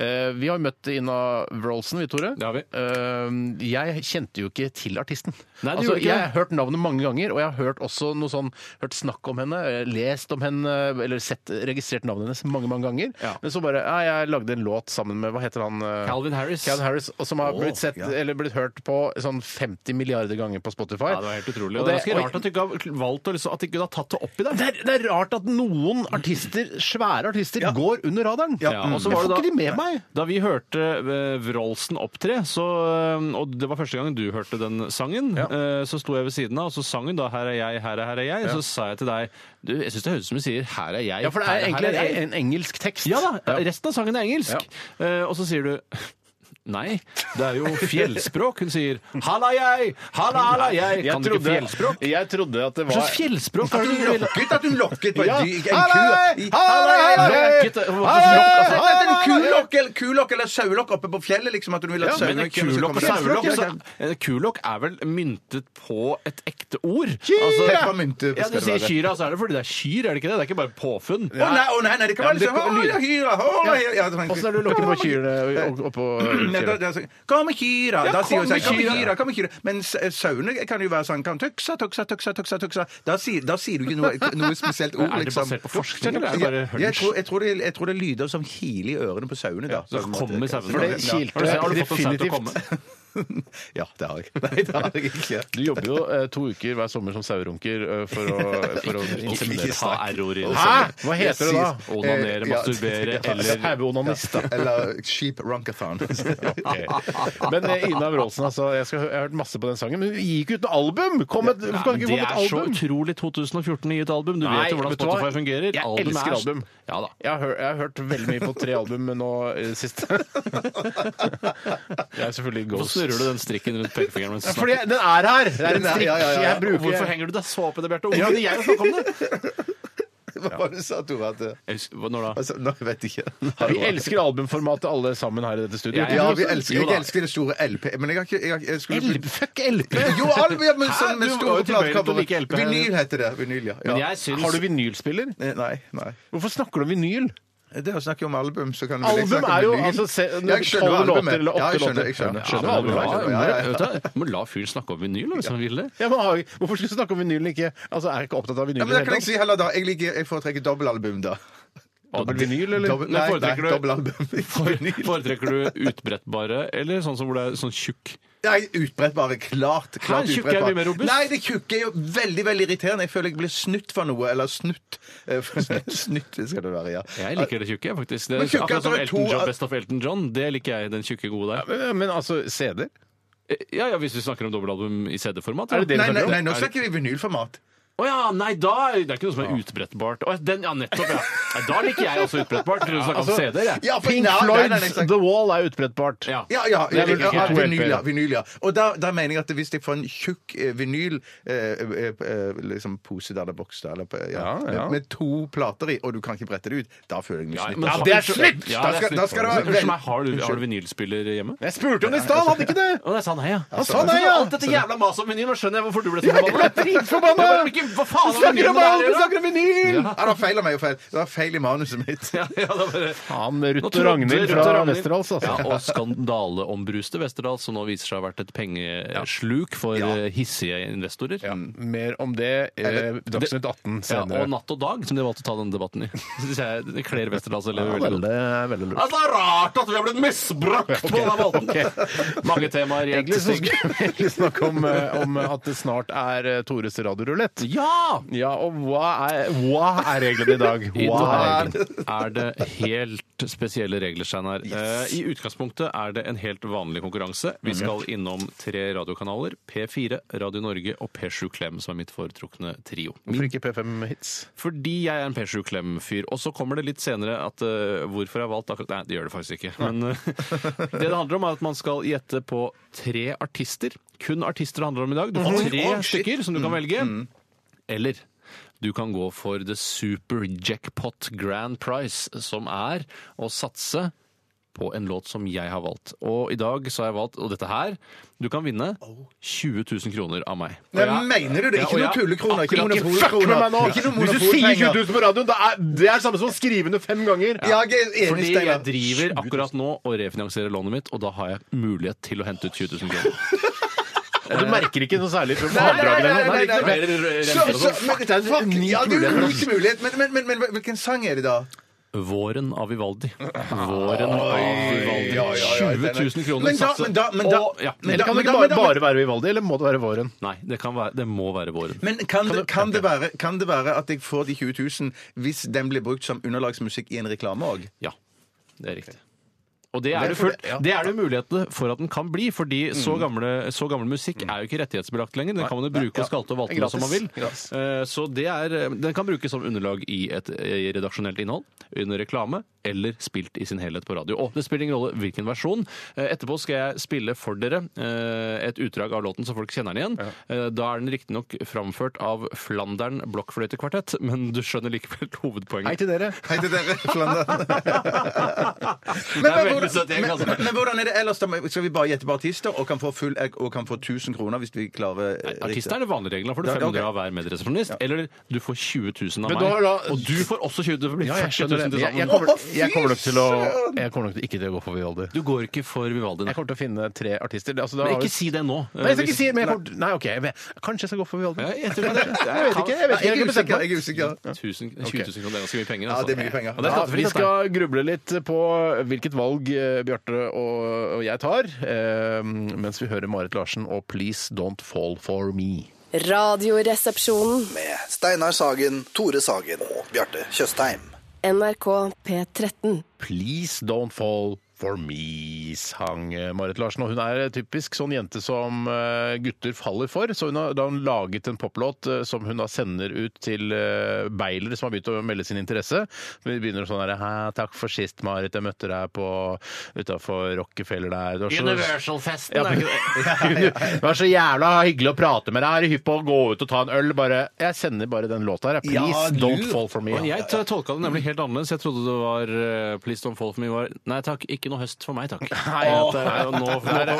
Eh, Vi har jo møtt Ina Wroldsen, vi, Tore.
Det har vi.
Eh, Jeg kjente jo ikke til artisten.
Nei, du
altså,
gjorde ikke
jeg
det.
har hørt navnet mange ganger, og jeg har hørt også noe sånn, hørt snakk om henne, eh, lest om henne, eller sett, registrert navnet hennes mange, mange ganger.
Ja.
Men så bare ja, Jeg lagde en låt sammen med Hva heter han? eh,
Calvin Harris.
Calvin Harris, og som har
Åh,
blitt, sett,
ja.
eller blitt hørt på sånn 50 milliarder ganger på Spotify.
Ja, det var helt utrolig.
Og
Og det er
det-
ganske rart at du ikke har valgt å liksom, at du ikke har tatt det opp i deg.
Det er, det er rart at noen artister, svære artister, går under radaren. Mm.
Ja, og så
Jeg
var
får
det da-
ikke de med meg.
Da vi hørte eh, Wroldsen opptre, så, eh, og det var første gang du hørte den sangen, eh, så sto jeg ved siden av, og så sang hun da 'Her er jeg, her er, her er jeg', så sa jeg til deg du, jeg syns det høres ut som hun sier 'Her er jeg'.
Ja, for det er
her
egentlig
her er
en,
jeg».
en engelsk tekst.
Ja da, resten av sangen er engelsk. Eh, og så sier du Nei, det er jo fjellspråk. Hun sier 'halla jeg', 'halla halla jeg'. Kan du ikke fjellspråk?
Jeg trodde at det
Hva
var
slags fjellspråk er det du vil?
Lokket at hun lokket på en,
Ja.
dy- en ku.
Hallei! Hallei!
Lokket, hva slags
Hallei!
lokk?
Altså, enten en kulokk eller, kulokk eller saulokk oppe på fjellet, liksom. At hun vil at
Men en
sauene-
kulokk og liksom.
Ja,
saulokk
ja,
så-
ja.
altså.
en Kulokk er vel myntet på et ekte ord? Altså-
Peppermynte
ja,
skal
du
det
sier
være.
kyra, så er det fordi det er kyr, er det ikke det? Det er ikke bare påfunn.
Å nei, å nei, nei, det kan være
Ja,
liksom
men det-
Å, ja, hyra, å, ja, ja, sånn-
Åssen er det du lokker på kyrne og- oppå
Nei, da-
kyrne?
da- så- Kom med kyra!
Ja,
Da sier
kom
hun sånn.
med
Kom med
kyra.
kyra, kom med kyra. Men s- eh, sauene kan jo være sånn kan tøksa, tøksa, tøksa, tøksa, tøksa. Da sier, da sier du ikke noe, noe spesielt ord,
Er det
liksom.
basert på forskning, eller er det
Ja,
bare
jeg, tror, jeg, tror det, jeg tror det er lyder som hiler i ørene på sauene, da. Sånn eh,
Så
På en måte.
kommer sauene.
For det
Ja.
kilte
Har du sett- har du fått en sau til å
definitivt.
komme?
Ja, det har jeg. Nei, det har jeg ikke.
Du jobber jo eh, to uker hver sommer som sauerunker eh, for å, for å inseminere.
Ta error i det.
Hæ? Hva heter det da?
Eh,
Onanere,
ja.
masturbere eller
Haugeonanist, da.
Eller Sheep Runkathon.
Men eh, Ina Wroldsen, altså. Jeg, skal, hø- jeg har hørt masse på den sangen, men hun gikk ut med album! Kom et,
Ja,
kan
men
ikke
det
komme et
er så
album?
utrolig 2014 i et album. Du
Nei,
vet jo hvordan
vet du hva?
Spotify fungerer.
Jeg
Album er-
elsker album.
Ja da.
Jeg har, hør, jeg har hørt veldig mye på tre album nå eh, sist. jeg er selvfølgelig
Hvorfor
ghost.
snurrer du den strikken rundt pekefingeren mens du
Fordi den er her! Det er en
Den er-
strikk.
ja, ja, ja, ja.
Jeg bruker
Hvorfor henger du deg så opp i det, Bjarte? Hvorfor kunne jeg snakke om det?
Hva var det du sa, Tore? at det-
Jeg husker- Når da?
Altså, nå vet jeg ikke.
Vi elsker albumformatet alle sammen her i dette studioet.
Jeg-
Ja,
også-
vi elsker,
jo da.
jeg elsker det store LP, men jeg har ikke jeg, har- jeg skulle
LP, fuck LP!
Jo, album, ja, men sånn med
Du
store
var jo tilbøyelig til å
platecovere.
like LP.
Vinyl heter det. Vinyl, ja. ja.
Men jeg syns
Har du vinylspiller?
Eh, Nei. nei.
Hvorfor snakker du om vinyl?
Det er å snakke om album, så kan vi
Album
liksom snakke om
er jo,
vinyl.
altså, se-
Ja, jeg skjønner
tolv
albumet.
låter eller åtte
ja, jeg skjønner, jeg
låter.
skjønner.
Ja,
Ja,
skjønner
men
albumet,
bra,
skjønner
bra,
Ja, ja, ja.
Vet du hva? Du må la fyren snakke om vinyl hvis han vil det.
Ja, men har vi- Hvorfor skulle du snakke om vinylen ikke Altså, Er jeg ikke opptatt av vinyl?
Ja,
i
men da
det
kan
hele
jeg si heller da, jeg, liker, jeg foretrekker dobbeltalbum, da.
tatt? Dobbel vinyl, eller?
Dobbel,
Men
nei, nei,
foretrekker du-
dobbeltalbum. Vinyl.
Foretrekker du utbrettbare eller sånn som hvor det er sånn tjukk?
Nei, utbrettbare. Klart. klart
tjukke er
utbrettbare.
mye mer robust.
Nei, det tjukke er jo veldig veldig irriterende. Jeg føler jeg blir snytt for noe. Eller snytt. Eh, Snytt skal det være, ja.
Jeg liker det tjukke, jeg, faktisk. Det
Men
er
tjukke,
akkurat som
det er to-
Elton John, Best of Elton John. Det liker jeg, den tjukke gode der.
Men, men altså, CD-er?
Ja, ja, Hvis vi snakker om dobbeltalbum i CD-format.
Er det det
Nei,
vi
nei,
sånn,
snakker om?
nei, nå snakker vi vinylformat.
Å ja, nei, da Det er ikke noe som er utbrettbart. Å, den, ja, nettopp, ja. Nei, da liker jeg også utbrettbart. Tror du snakker om CD-er, jeg.
Altså, Ja, for-
Pink
nei, nei, nei, nei,
Floyds
nei.
The Wall er utbrettbart.
Ja.
Ja, ja,
Det er vel
ja,
ikke
ja,
to
vinyl, ja,
LP-er.
vinyl, ja. Og da, da mener jeg at hvis jeg får en tjukk eh, vinyl eh, eh, eh, liksom pose der det bokser, eller på- ja,
Ja, ja.
Med, med to plater i, og du kan ikke brette det ut, da føler jeg meg snytt.
Ja, det er snytt!
Ja,
Da
det er
skal-
snytt.
da skal det være
Unnskyld
vel-
meg, har du, har du vinylspiller hjemme?
Jeg spurte om det i stad, han hadde ikke det!
Å, nei, sa han hei, ja.
Han sa nei, ja!
Alt dette jævla maset om vinyl, nå skjønner jeg hvorfor du ble så forbanna.
dritforbanna!
Jeg bare ikke- Hva faen
Du
har
snakker
vinylen
om
med
alt!
det
Du
å gjøre?
snakker om vinyl!
Ja, det var feil av meg. og feil. Det var feil i manuset mitt.
Ja, ja, det var det.
Han Ruth
Nå
og
trodde
Ragnhild
Ruth og
fra
Ragnhild-
Vesterålen, altså.
Ja, og skandaleombruste Westerdals, som nå viser seg å ha vært et pengesluk for eh, hissige investorer.
Mer om det eh, Dagsnytt 18
Ja, og
senere.
Natt og Dag, som de valgte å ta denne debatten i. Det synes jeg det kler Westerdals elever
Ja,
veldig godt.
er veldig lurt.
Altså, det er rart at vi har blitt misbrukt på denne måten! Mange temaer i ett
Egentlig så
stykk.
skulle vi egentlig snakke om, eh, om at det snart er eh, Tores radiorulett.
Ja!
Ja, og hva er, hva er reglene i dag?
I
Hva er
dag er det helt spesielle regler, Steinar. Eh, I utgangspunktet er det en helt vanlig konkurranse. Vi skal innom tre radiokanaler. P4, Radio Norge og P7 Klem, som er mitt foretrukne trio.
Hvorfor ikke P5 Hits?
Fordi jeg er en P7 Klem-fyr. Og så kommer det litt senere at eh, hvorfor jeg har valgt akkurat Nei, det gjør det faktisk ikke. Men eh, det det handler om, er at man skal gjette på tre artister. Kun artister det handler om i dag. Du får tre
Å, shit.
stykker som du kan velge. Eller du kan gå for the super jackpot grand prize, som er å satse på en låt som jeg har valgt. Og i dag så har jeg valgt, og dette her Du kan vinne 20 000 kroner av meg.
Nei, mener du det? Ikke
Ja, og
noe
jeg-
tullekroner, Ah, ikke noe
Akkurat ikke
Fuck med
monopolkroner.
meg nå!
Ikke noe
Altså, Hvis du sier
monopolpenger.
20 000 på radioen, da er det er det samme som å skrive under fem ganger!
Ja, jeg er enig,
Fordi jeg
Steinar.
driver akkurat nå og refinansierer lånet mitt, og da har jeg mulighet til å hente ut 20 000 kroner.
Og du merker ikke noe særlig fra
Nei, nei,
avdragene
nei,
eller noe?
nei,
Det er
nei,
ikke
nei.
noe mer renter
Så,
og
så,
sånn.
men,
Fuck, det er en
fuck,
unik
ja, det er
mulighet.
en unik mulighet. Men, men, men, men hvilken sang er det, da?
Våren av Vivaldi. Våren av Vivaldi.
ja, ja, ja,
20 000 kroner
Men da-
satser.
men da- men da-
Og- ja.
men
Eller
da-
kan det ikke
men
bare,
da- men-
bare være Vivaldi, eller må det være våren?
Nei, det, kan være, det må være våren.
Men kan, det, kan, det være, kan det være at jeg får de 20 000 hvis den blir brukt som underlagsmusikk i en reklame òg?
Ja, det er riktig. Og det er det, Mm. fullt, det er det mulighetene for at den kan bli, fordi så, gamle, så gammel musikk er jo ikke rettighetsbelagt lenger. Den kan man jo bruke og skalte og valte med som man vil. Eh, Så det er, den kan brukes som underlag i et i redaksjonelt innhold, under reklame, eller spilt i sin helhet på radio. Og det spiller ingen rolle hvilken versjon. Eh, Etterpå skal jeg spille for dere eh, et utdrag av låten så folk kjenner den igjen. Eh, Da er den riktignok framført av Flandern blokkfløytekvartett, men du skjønner likevel hovedpoenget.
Hei til dere.
Hei til dere, Flander. men,
Det er
hvordan-
veldig søtt gjeng, altså.
men, men hvordan er det ellers? da? Skal vi bare gjette på artister og kan få full egg og kan få 1000 kroner hvis vi klarer eh,
Artist er det vanlige reglene. Da får du
Ja,
500
ok.
av hver medresepsjonist. Eller du får 20 000 av meg.
Men da har da-
Og du får også 20 000. Det blir
Ja, jeg
40 000
skjønner det.
til
Jeg, jeg,
sammen.
kommer, jeg kommer nok til å Jeg kommer nok til ikke til å gå for Vivaldi.
Du går ikke for Vivaldi.
Jeg
Nei.
kommer til å finne tre artister. Altså, da
Men
har vi-
ikke si det nå.
Eh, Nei, jeg skal ikke si det, men jeg kommer, Nei, OK. Men, kanskje jeg skal gå for Vivaldi.
Ja, jeg tror det.
Jeg vet ikke. Jeg vet ikke, jeg har
Jeg er
ikke bestemt
usikker.
meg.
Jeg er usikker.
1000, 20 000 kroner det er ganske mye penger.
Ja, det er mye penger.
Og det er
Ja,
skattefritt,
vi skal gruble litt på hvilket valg eh, Bjarte og, og jeg tar, eh, mens vi hører Marit Larsen og 'Please Don't Fall For Me'.
Radioresepsjonen.
med Steinar Sagen, Tore Sagen og Bjarte Tjøstheim.
NRK P13.
'Please Don't Fall For Me' sang eh, Marit Larsen. Og hun er typisk sånn jente som eh, gutter faller for. Så hun har, da har hun laget en poplåt eh, som hun da sender ut til eh, beilere som har begynt å melde sin interesse. Vi begynner sånn her «Hæ, 'Takk for sist, Marit. Jeg møtte deg på utafor Rockefeller der.' Du var så-
Universal-festen.
Ja,
er det ikke det?
Det var så jævla hyggelig å prate med deg. Er du hypp på å gå ut og ta en øl? Bare, jeg sender bare den låta her. jeg. Please
Ja, du-
don't fall for me.
Og jeg t- tolka det nemlig helt annerledes. Jeg trodde det var eh, 'Please Don't Fall For Me' var Nei takk, ikke noe høst for meg, takk.
Nei,
Og
det
det er jo nå, nå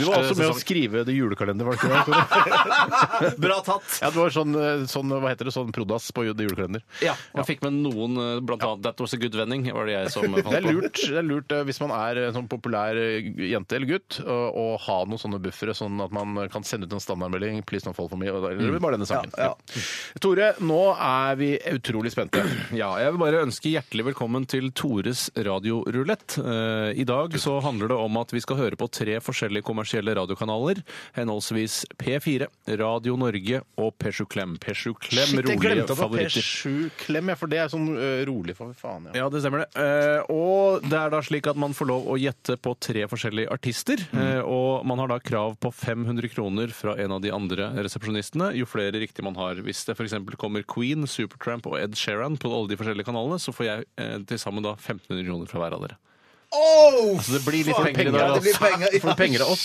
Du var også med å skrive det julekalender, var det ikke det?
skrive. Bra tatt.
Ja, det var sånn, eh, sånn, hva heter det, sånn prodas på ju- det julekalender.
Ja, og fikk med noen, eh, blant annet That Was A Good Vending, var det jeg som eh,
Det er
fant på.
lurt, det er lurt eh, hvis man er en sånn populær eh, jente eller gutt, å å ha noen sånne buffere, sånn at man kan sende ut en standardmelding 'Please don't fall for me', og da, eller bare denne sangen.
Ja, ja.
Tore, nå er vi utrolig spente.
Ja, jeg vil bare ønske hjertelig velkommen til Tores radiorulett. Eh, I dag så handler det om at vi skal høre på tre forskjellige kommersielle radiokanaler, henholdsvis P4, Radio Norge og Pesju Klem. Pesju Klem,
Shit, jeg
rolige
glemte at det
favoritter.
P7 Klem, ja, for det er sånn eh, rolig for faen. Ja.
Ja, det stemmer det. Eh, og det er da slik at man får lov å gjette på tre forskjellige artister. Eh, og man har da krav på 500 kroner fra en av de andre resepsjonistene. Jo flere riktig man har. Hvis det f.eks. kommer Queen, Supertramp og Ed Sheeran på alle de forskjellige kanalene, så får jeg eh, til sammen da 1500 kroner fra hver av dere.
Oh,
det blir litt
fuck,
penger i dag,
ja, det blir
altså.
penger, ja.
Får du penger av oss?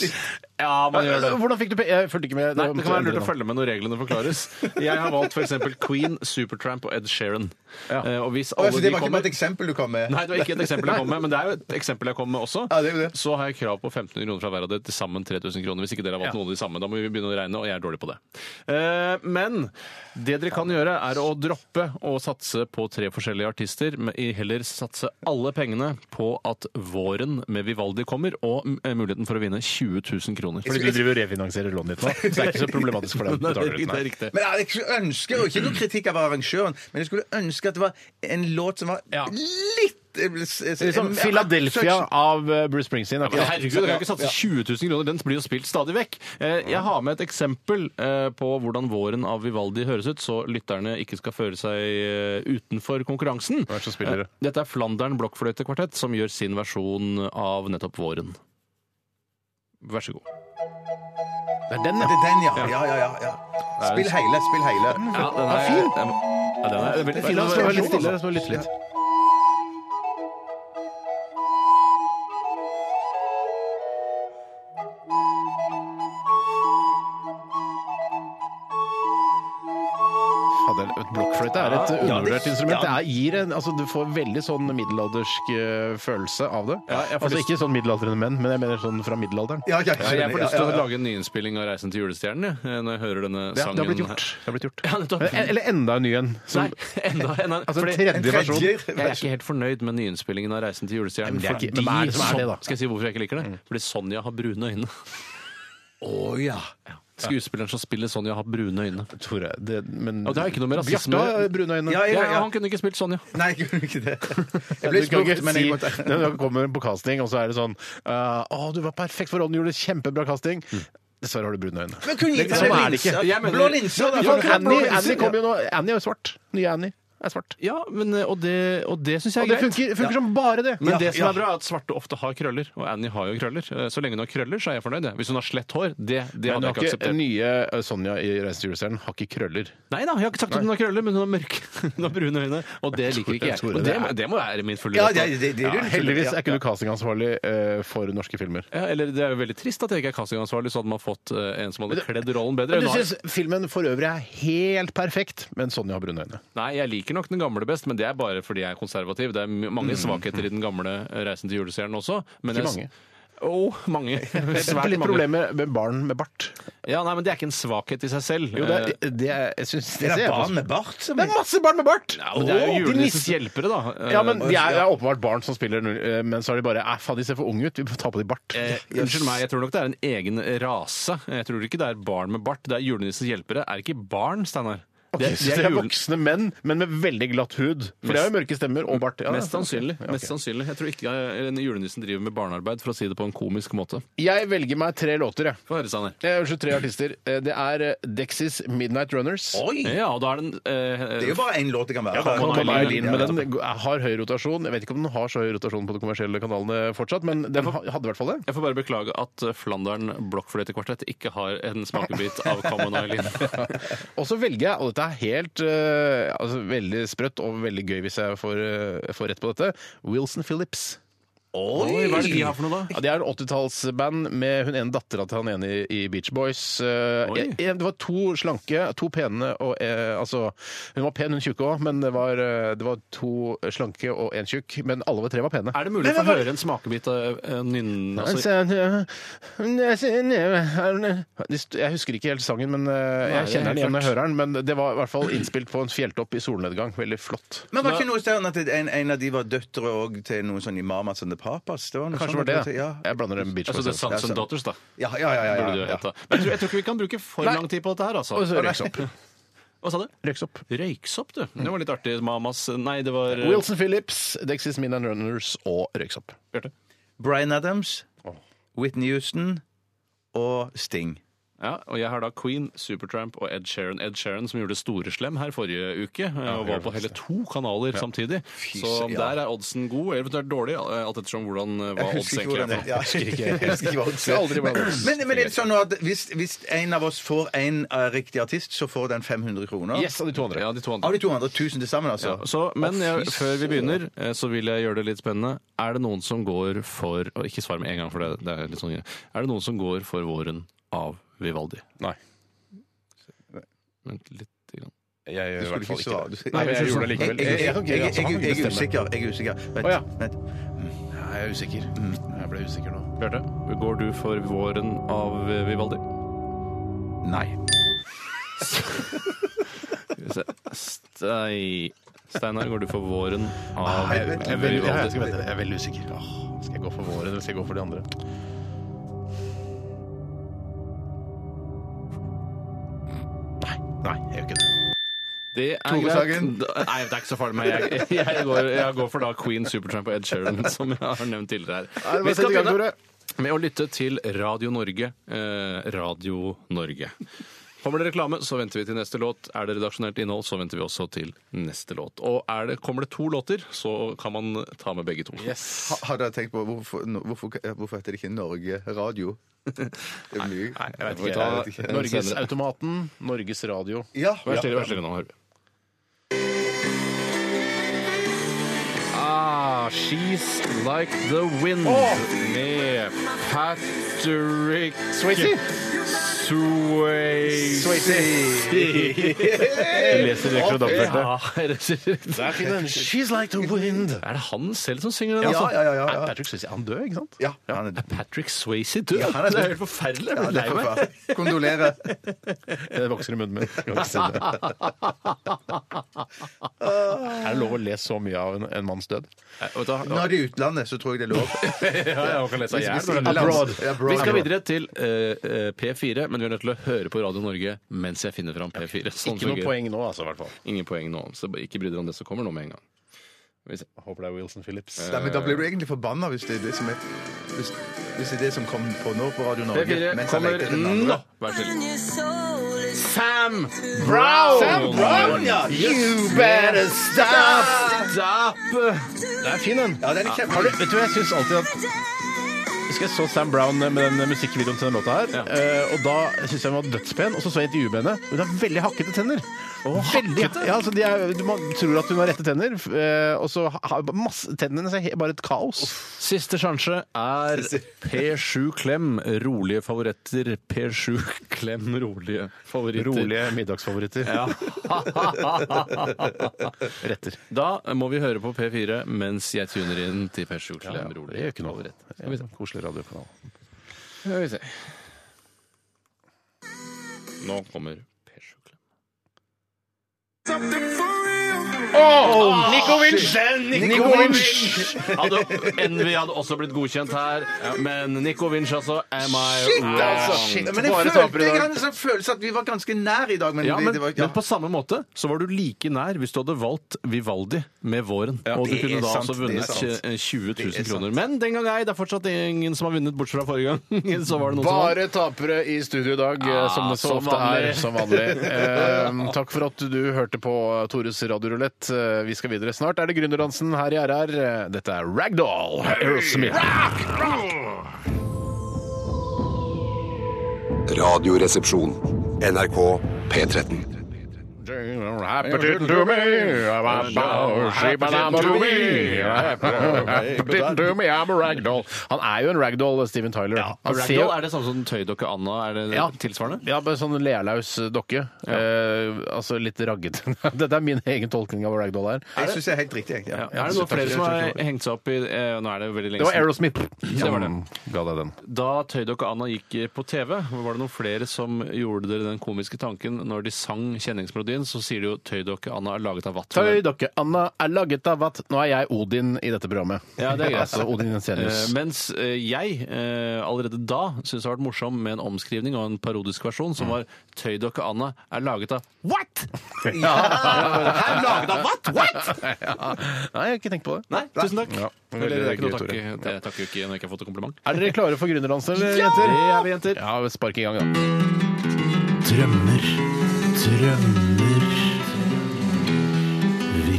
Ja, man gjør det.
Hvordan fikk du penger? Jeg fulgte ikke med.
Nei, Det kan være lurt å
følge
følge med når reglene forklares. Jeg har valgt f.eks. Queen, Supertramp og Ed Sheeran. Eh, og hvis
Å,
alle
altså,
de
Det var ikke
kommer
bare et eksempel du kom med?
Nei, det var ikke et eksempel jeg kom med, men det er jo et eksempel jeg kom med også.
Eh, Ja, det er jo det.
Så har jeg krav på 1500 kroner fra hver av dere, til sammen 3000 kroner. Hvis ikke dere har valgt noen av de samme, da må vi begynne å regne, og jeg er dårlig på det. Eh, Men det dere kan gjøre, er å droppe å satse på tre forskjellige artister, men i- heller satse alle pengene på at våren med Vivaldi kommer, og mm, muligheten for å vinne 20 000 kroner.
Fordi du driver og refinansierer lånet ditt nå, så det er ikke så problematisk for deg.
Nei, det er
Betaler
riktig,
du ut,
det er
nei.
riktig.
Men jeg skulle ønske, og ikke noe kritikk av arrangøren, men jeg skulle ønske at det var en låt som var
Ja.
litt eh, s-
Det er Liksom Philadelphia av eh, Bruce Springsteen. er ikke
Men
det?
herregud, jeg kan ikke satse 20 000 kroner. Den blir jo spilt stadig vekk. Eh, Jeg har med et eksempel eh, på hvordan våren av Vivaldi høres ut, så lytterne ikke skal føle seg eh, utenfor konkurransen.
Vær så snill, spillere.
Eh, Dette er Flandern blokkfløytekvartett som gjør sin versjon av nettopp våren. Vær så god.
Det er den,
Det
ja.
er den, ja. Ja, ja, ja, ja. Spill hele, spill hele.
Ja, den er fin! Ja, den er veldig fin.
La oss være litt
altså.
stille, så lytte litt. Fader, et blokkfløyte er et eh, undervurdert instrument. Det er, gir en, altså, du får veldig sånn middelaldersk eh, følelse av det.
Ja, jeg får
altså
lyst-
ikke sånn middelaldrende menn, men jeg mener sånn fra middelalderen.
Ja, ja, ja,
Jeg får lyst til
ja,
å
ja.
lage en nyinnspilling av 'Reisen til julestjernen' jeg, eh, når jeg hører denne
Det,
sangen.
det har blitt
her.
gjort. Det har blitt gjort.
Ja, nettopp.
Men- Eller enda en ny en. som-
Nei, enda, enda
Altså en
fordi-
tredje,
En tredje
versjon.
versjon.
Jeg er ikke helt fornøyd med nyinnspillingen av 'Reisen til julestjernen'.
Nei, men det er
fordi
ikke- men hva er det som er det, da? Mm.
Skal jeg si hvorfor jeg ikke liker det? Fordi Sonja har brune øyne.
Å ja.
Skuespilleren som spiller Sonja, har brune øyne.
Tore, det, men
Og det har ikke noe med rasisme
Bjarte har brune øyne.
Ja, ja,
Ja, han kunne ikke spilt Sonja.
Nei, jeg gjorde ikke det. Jeg
Du
ble
kan
spurt,
ikke
men
si-
jeg måtte
Når du kommer på casting, og så er det sånn eh, Å, du var perfekt for rollen, du gjorde kjempebra casting.
Mm.
Dessverre har du brune øyne.
Men kunne gitt
Sånn
deg
er det ikke.
Jeg mener-
Blå linser! da, Sånn
Ja,
for-
Annie, Annie kommer jo nå. Annie er jo svart. Nye Annie er svart.
Ja, men, eh, og det, og det syns jeg
Og
er
det
greit.
funker, funker som bare det.
Men
Ja,
det som
ja.
er bra, er at svarte ofte har krøller. Og Annie har jo krøller. Eh, Så lenge hun har krøller, så er jeg fornøyd. jeg. Hvis hun har slett hår, det, det hadde
Men hun
jeg ikke
har ikke,
akseptert.
nye eh, Sonja i Reisen til julestjernen har ikke krøller.
Nei da, jeg har ikke sagt at hun har krøller, men hun har mørke hun har brune øyne. Og det liker ikke jeg.
Tore,
Og det,
det er-
det må være min fulle
Ja,
rett. da.
det, det, det, det,
Ja, heldigvis
ja.
er ikke du castingansvarlig eh, for norske filmer.
Ja, eller Det er jo veldig trist at jeg ikke er castingansvarlig, så hadde man fått eh, en som hadde kledd rollen bedre.
Men du
Hun har-
syns filmen for øvrig er helt perfekt, men Sonja har brune øyne.
Nei, jeg liker nok den gamle best, men det er bare fordi jeg er konservativ. Det er m- mange svakheter i den gamle eh, Reisen til julestjernen også. Men
Mm. Ikke
jeg- Å, mange.
Jeg
Svært
har litt
mange.
problemer med barn med bart.
Ja, nei, men Det er ikke en svakhet i seg selv. Eh,
Jo, det er, det er, jeg synes, Eh, det,
Det
ser
er
jeg på
barn
som-
med bart som
det er masse barn med bart!
Ja, men det er jo
Åh, de
julenissens
nisser-
hjelpere, da.
Ja, men de er, det er åpenbart barn som spiller, eh, men så er de bare Æ, faen, de ser for unge ut, vi må ta på de bart.
Eh, unnskyld meg, jeg tror nok det er en egen rase. Jeg tror ikke det er barn med bart. Det er julenissens hjelpere. Er ikke barn, Steinar?
Ok,
Det-
så
det
det
er
er
julen-
voksne menn, men med veldig glatt hud. For det er jo mørke stemmer og bart. Ja,
Mest
ja, ok.
sannsynlig.
Ja, ok.
Mest sannsynlig. Jeg tror ikke eh, en julenissen driver med barnearbeid, for å si det på en komisk måte.
Jeg velger meg tre låter, jeg.
Få høre, Steinar.
Jeg ønsker tre artister. Eh, Det er eh, Dexys Midnight Runners.
Oi!
Ja, og da er den eh,
Det er jo bare én låt det kan være.
Ja, man
kan
kan
ha
ha
violin,
violin, men den har høy rotasjon. Jeg vet ikke om den har så høy rotasjon på de kommersielle kanalene fortsatt, men den ha- hadde i hvert fall det.
Jeg får bare beklage at eh, Flandern blokkfløytekvartett ikke har en smakebit av Common Eileen.
Og så velger jeg, og dette er helt eh, altså, veldig sprøtt og veldig gøy hvis jeg får, eh, får rett på dette, Wilson Phillips.
Oi, hva er det de har for noe, da?
Ja, det er en 80-tallsband med hun ene dattera til han ene i, i Beach Boys. Eh,
Oi.
jeg, jeg, det var to slanke, to pene og eh, Altså, hun var pen, hun tjukke òg, men det var, eh, det var to slanke og én tjukk. Men alle var tre var pene.
Er det mulig å få høre en smakebit av eh, nynn... Altså,
Jeg husker ikke helt sangen, men eh,
Nei,
jeg
det er
kjenner den
helt
igjen når jeg
klart.
hører den. Men det var i hvert fall innspilt på en fjelltopp i solnedgang. Veldig flott.
Men var ikke noe sånn at en, en av de var døtre og til noen sånn imamer som The Papas? Det var noe
Kanskje
sånn
var det.
at-
ja.
Ja.
Jeg blander det med Beach
altså
Boys.
The Sons and
sant.
Daughters, da.
Ja, ja, ja, ja,
Burde det
ja,
jo
ja.
hete. Men jeg tror, jeg tror ikke vi kan bruke for
Nei.
lang tid på dette her, altså.
Og så Røyksopp.
Hva sa du?
Røyksopp.
Røyksopp, du. Det var litt artig. Mamas Nei, det var eh,
Wilson Phillips, Dexys Min and Runners og Røyksopp.
Bjarte.
Bryan Adams, Whitney Houston og Sting.
Ja, og jeg har da Queen, Supertramp og Ed Sheeran. Ed Sheeran som gjorde storeslem her forrige uke, eh, og var på hele to kanaler samtidig. Så der er oddsen god, eller eventuelt dårlig, eh, alt ettersom hvordan eh, hva odds egentlig er.
Ja, jeg husker ikke, jeg husker ikke hva odds
Jeg har aldri vært odds.
Men, men er det sånn nå at hvis, hvis en av oss får en eh, riktig artist, så får den 500 kroner?
Yes, av de to andre.
Ja, de to andre.
Av de 200 000 til sammen, altså?
Ja, så, men jeg, før vi begynner, eh, så vil jeg gjøre det litt spennende. Er det noen som går for og Ikke svar med en gang, for det, det er litt sånn greie. Er det noen som går for våren av Vivaldi?
Nei.
Vent litt. Grann.
Jeg gjør i hvert fall ikke det.
Nei,
Nei, men jeg gjorde det likevel.
Jeg, jeg, jeg, jeg,
Han
jeg,
kunne
er
bestemme.
usikker. Jeg er usikker. Vent,
Å, ja.
vent.
Ja, Jeg er usikker. Jeg ble usikker nå.
Bjarte, går du for våren av eh, Vivaldi?
Nei.
Skal vi se. Stei... Steinar, går du for våren av
Jeg, jeg, er veldig- jeg,
Vivaldi?
skal vente. jeg er veldig usikker. Åh, Skal jeg gå for våren, eller skal jeg gå for de andre? Nei. Nei, jeg gjør ikke det.
Det er
Tore Sagen.
Da- Nei, det er ikke så farlig, men jeg, jeg, går, jeg går for da Queen, Supertramp og Ed Sheeran, som jeg har nevnt tidligere her. Vi skal begynne. med å lytte til Radio Norge. Eh, Radio Norge. Kommer det reklame, så venter vi til neste låt. Er det redaksjonelt innhold, så venter vi også til neste låt. Og er det, kommer det to låter, så kan man ta med begge to.
Ha- Har dere tenkt på hvorfor, no- hvorfor, hvorfor heter det ikke Norge Radio? Det er mye.
Nei, jeg vet
Jeg
ikke.
vet ikke.
Ta Norges
Norgesautomaten, Norges Radio.
Ja.
Vær stille, vær stille nå, Harve. Ah, She's Like The Wind med Patrick
Swayze?
Sway
Jeg leser direkte fra dagbladet.
Er
She's like the wind.
det han selv som synger den?
Ja,
altså?
ja, ja, ja, ja.
Er Patrick Swayze han død, ikke sant?
Ja, han er
Er Patrick Swayze død?
Ja, han er
det er
død.
helt forferdelig.
Ja,
Jeg blir
det
lei
er
meg.
forferdelig. Kondolerer.
Det Eh, vokser i munnen min. Jeg kan ikke se
Ah.
det. Er det lov å le så mye av en, en manns død?
Når de er i utlandet, så tror jeg det er lov.
Abroad.
Vi skal videre til eh, eh, P4, men vi er nødt til å høre på Radio Norge mens jeg finner fram P4. Sånn
Ikke noe
fungerer.
poeng nå, altså, i hvert fall.
Ingen poeng nå, så ikke bry dere om det som kommer nå med en gang. Skal vi se.
Håper det er Wilson Phillips.
Nei, men da blir du egentlig forbanna hvis det er det som er hvis, hvis det er det som kom på nå på Radio Norge.
P4
mens jeg
kommer
leter etter den andre.
nå! Vær så snill. Sam
Brown!
You
better stop!
Stop!
Det er fin, den.
Ja, den er
Har
kjempe...
du, vet du, hva, jeg syns alltid at Husker jeg så Sam Brown med den musikkvideoen til den låta her. eh, Og da syns jeg hun var dødspen, og så så jeg intervjuet med henne. Hun har veldig hakkete tenner. veldig, ja, altså de er, du- Man tror at hun har rette tenner, eh, og så har masse tennene hennes er he- bare et kaos.
Siste sjanse er P7 Klem. Rolige favoritter. P7 Klem, rolige favoritter.
middagsfavoritter.
Ja.
Retter.
Da må vi høre på P4 mens jeg tuner inn til P7 Klem,
Ja, det
rolige
gjør ikke noe.
favoritter. Skal vi se.
Koselig radiokanal.
Skal vi se. Nå kommer P7 Klem.
Oh, Nikovic!
Hadde, Envy hadde også blitt godkjent her, men Nico Vinch, altså. Am I wrong?
Ja, men jeg
Bare taper
følte
i dag.
jeg hadde en sånn følelse at vi var ganske nær i dag, men,
Ja,
vi-
men,
det var
men på samme måte så var du like nær hvis du hadde valgt Vivaldi med våren. og du
det
kunne
er
da
sant, det er
altså vunnet
sant.
tjue- eh, 20
Det er
000
sant.
kroner. Men den gang ei, det er fortsatt ingen som har vunnet, bortsett fra forrige gang. så var det noen som vant.
Bare tapere i studio i dag, eh, som det så
som
ofte er
vanlig.
som vanlig. Eh, takk for at du hørte på eh, Tores radiorulett. Eh, vi skal videre. Snart er det Gründerdansen her i RR. Eh, Dette er Ragdoll. Aerosmith.
Radioresepsjon.
NRK P13.
Happened to me. She belonged to me. Happened to me. I'm a ragdoll. Han er jo en ragdoll, Steven Tyler. Han ser jo-
Ragdoll, er det samme som tøydokke Anna? Er det
Ja.
tilsvarende?
Ja, bare sånn lealaus dokke. Eh, altså litt raggete. Dette er min egen tolkning av hva ragdoll er.
Jeg syns det er helt riktig. egentlig,
Ja.
Ja.
Er det noen flere som har hengt seg opp i eh, Nå er det veldig lenge
Det var
siden.
Aerosmith
det var det.
som mm, ga deg den.
Da Tøydokke Anna gikk eh, på TV, var det noen flere som gjorde dere den komiske tanken når de sang kjenningsmelodien, så sier de jo Tøydokke Anna er laget av vatt.
Tøy dere, Anna er laget av vatt. Nå er jeg Odin i dette programmet.
Ja, det er greit.
altså Odin Jensenius.
Eh, mens eh, jeg eh, allerede da syntes det har vært morsom med en omskrivning og en parodisk versjon
Mm.
som var Tøydokke Anna er laget av What?! Er laget av what?! What?!
Ja. Nei, jeg har ikke tenkt på det.
Nei, tusen takk.
Ja,
Eller, det er ikke noe å
gøy,
takke.
Tore.
Det takker jo ikke når jeg ikke har fått et kompliment.
Er dere klare for gründerdansen, eller, jenter?
Det er vi, jenter.
Ja, spark i gang, da.
Drømmer, drømmer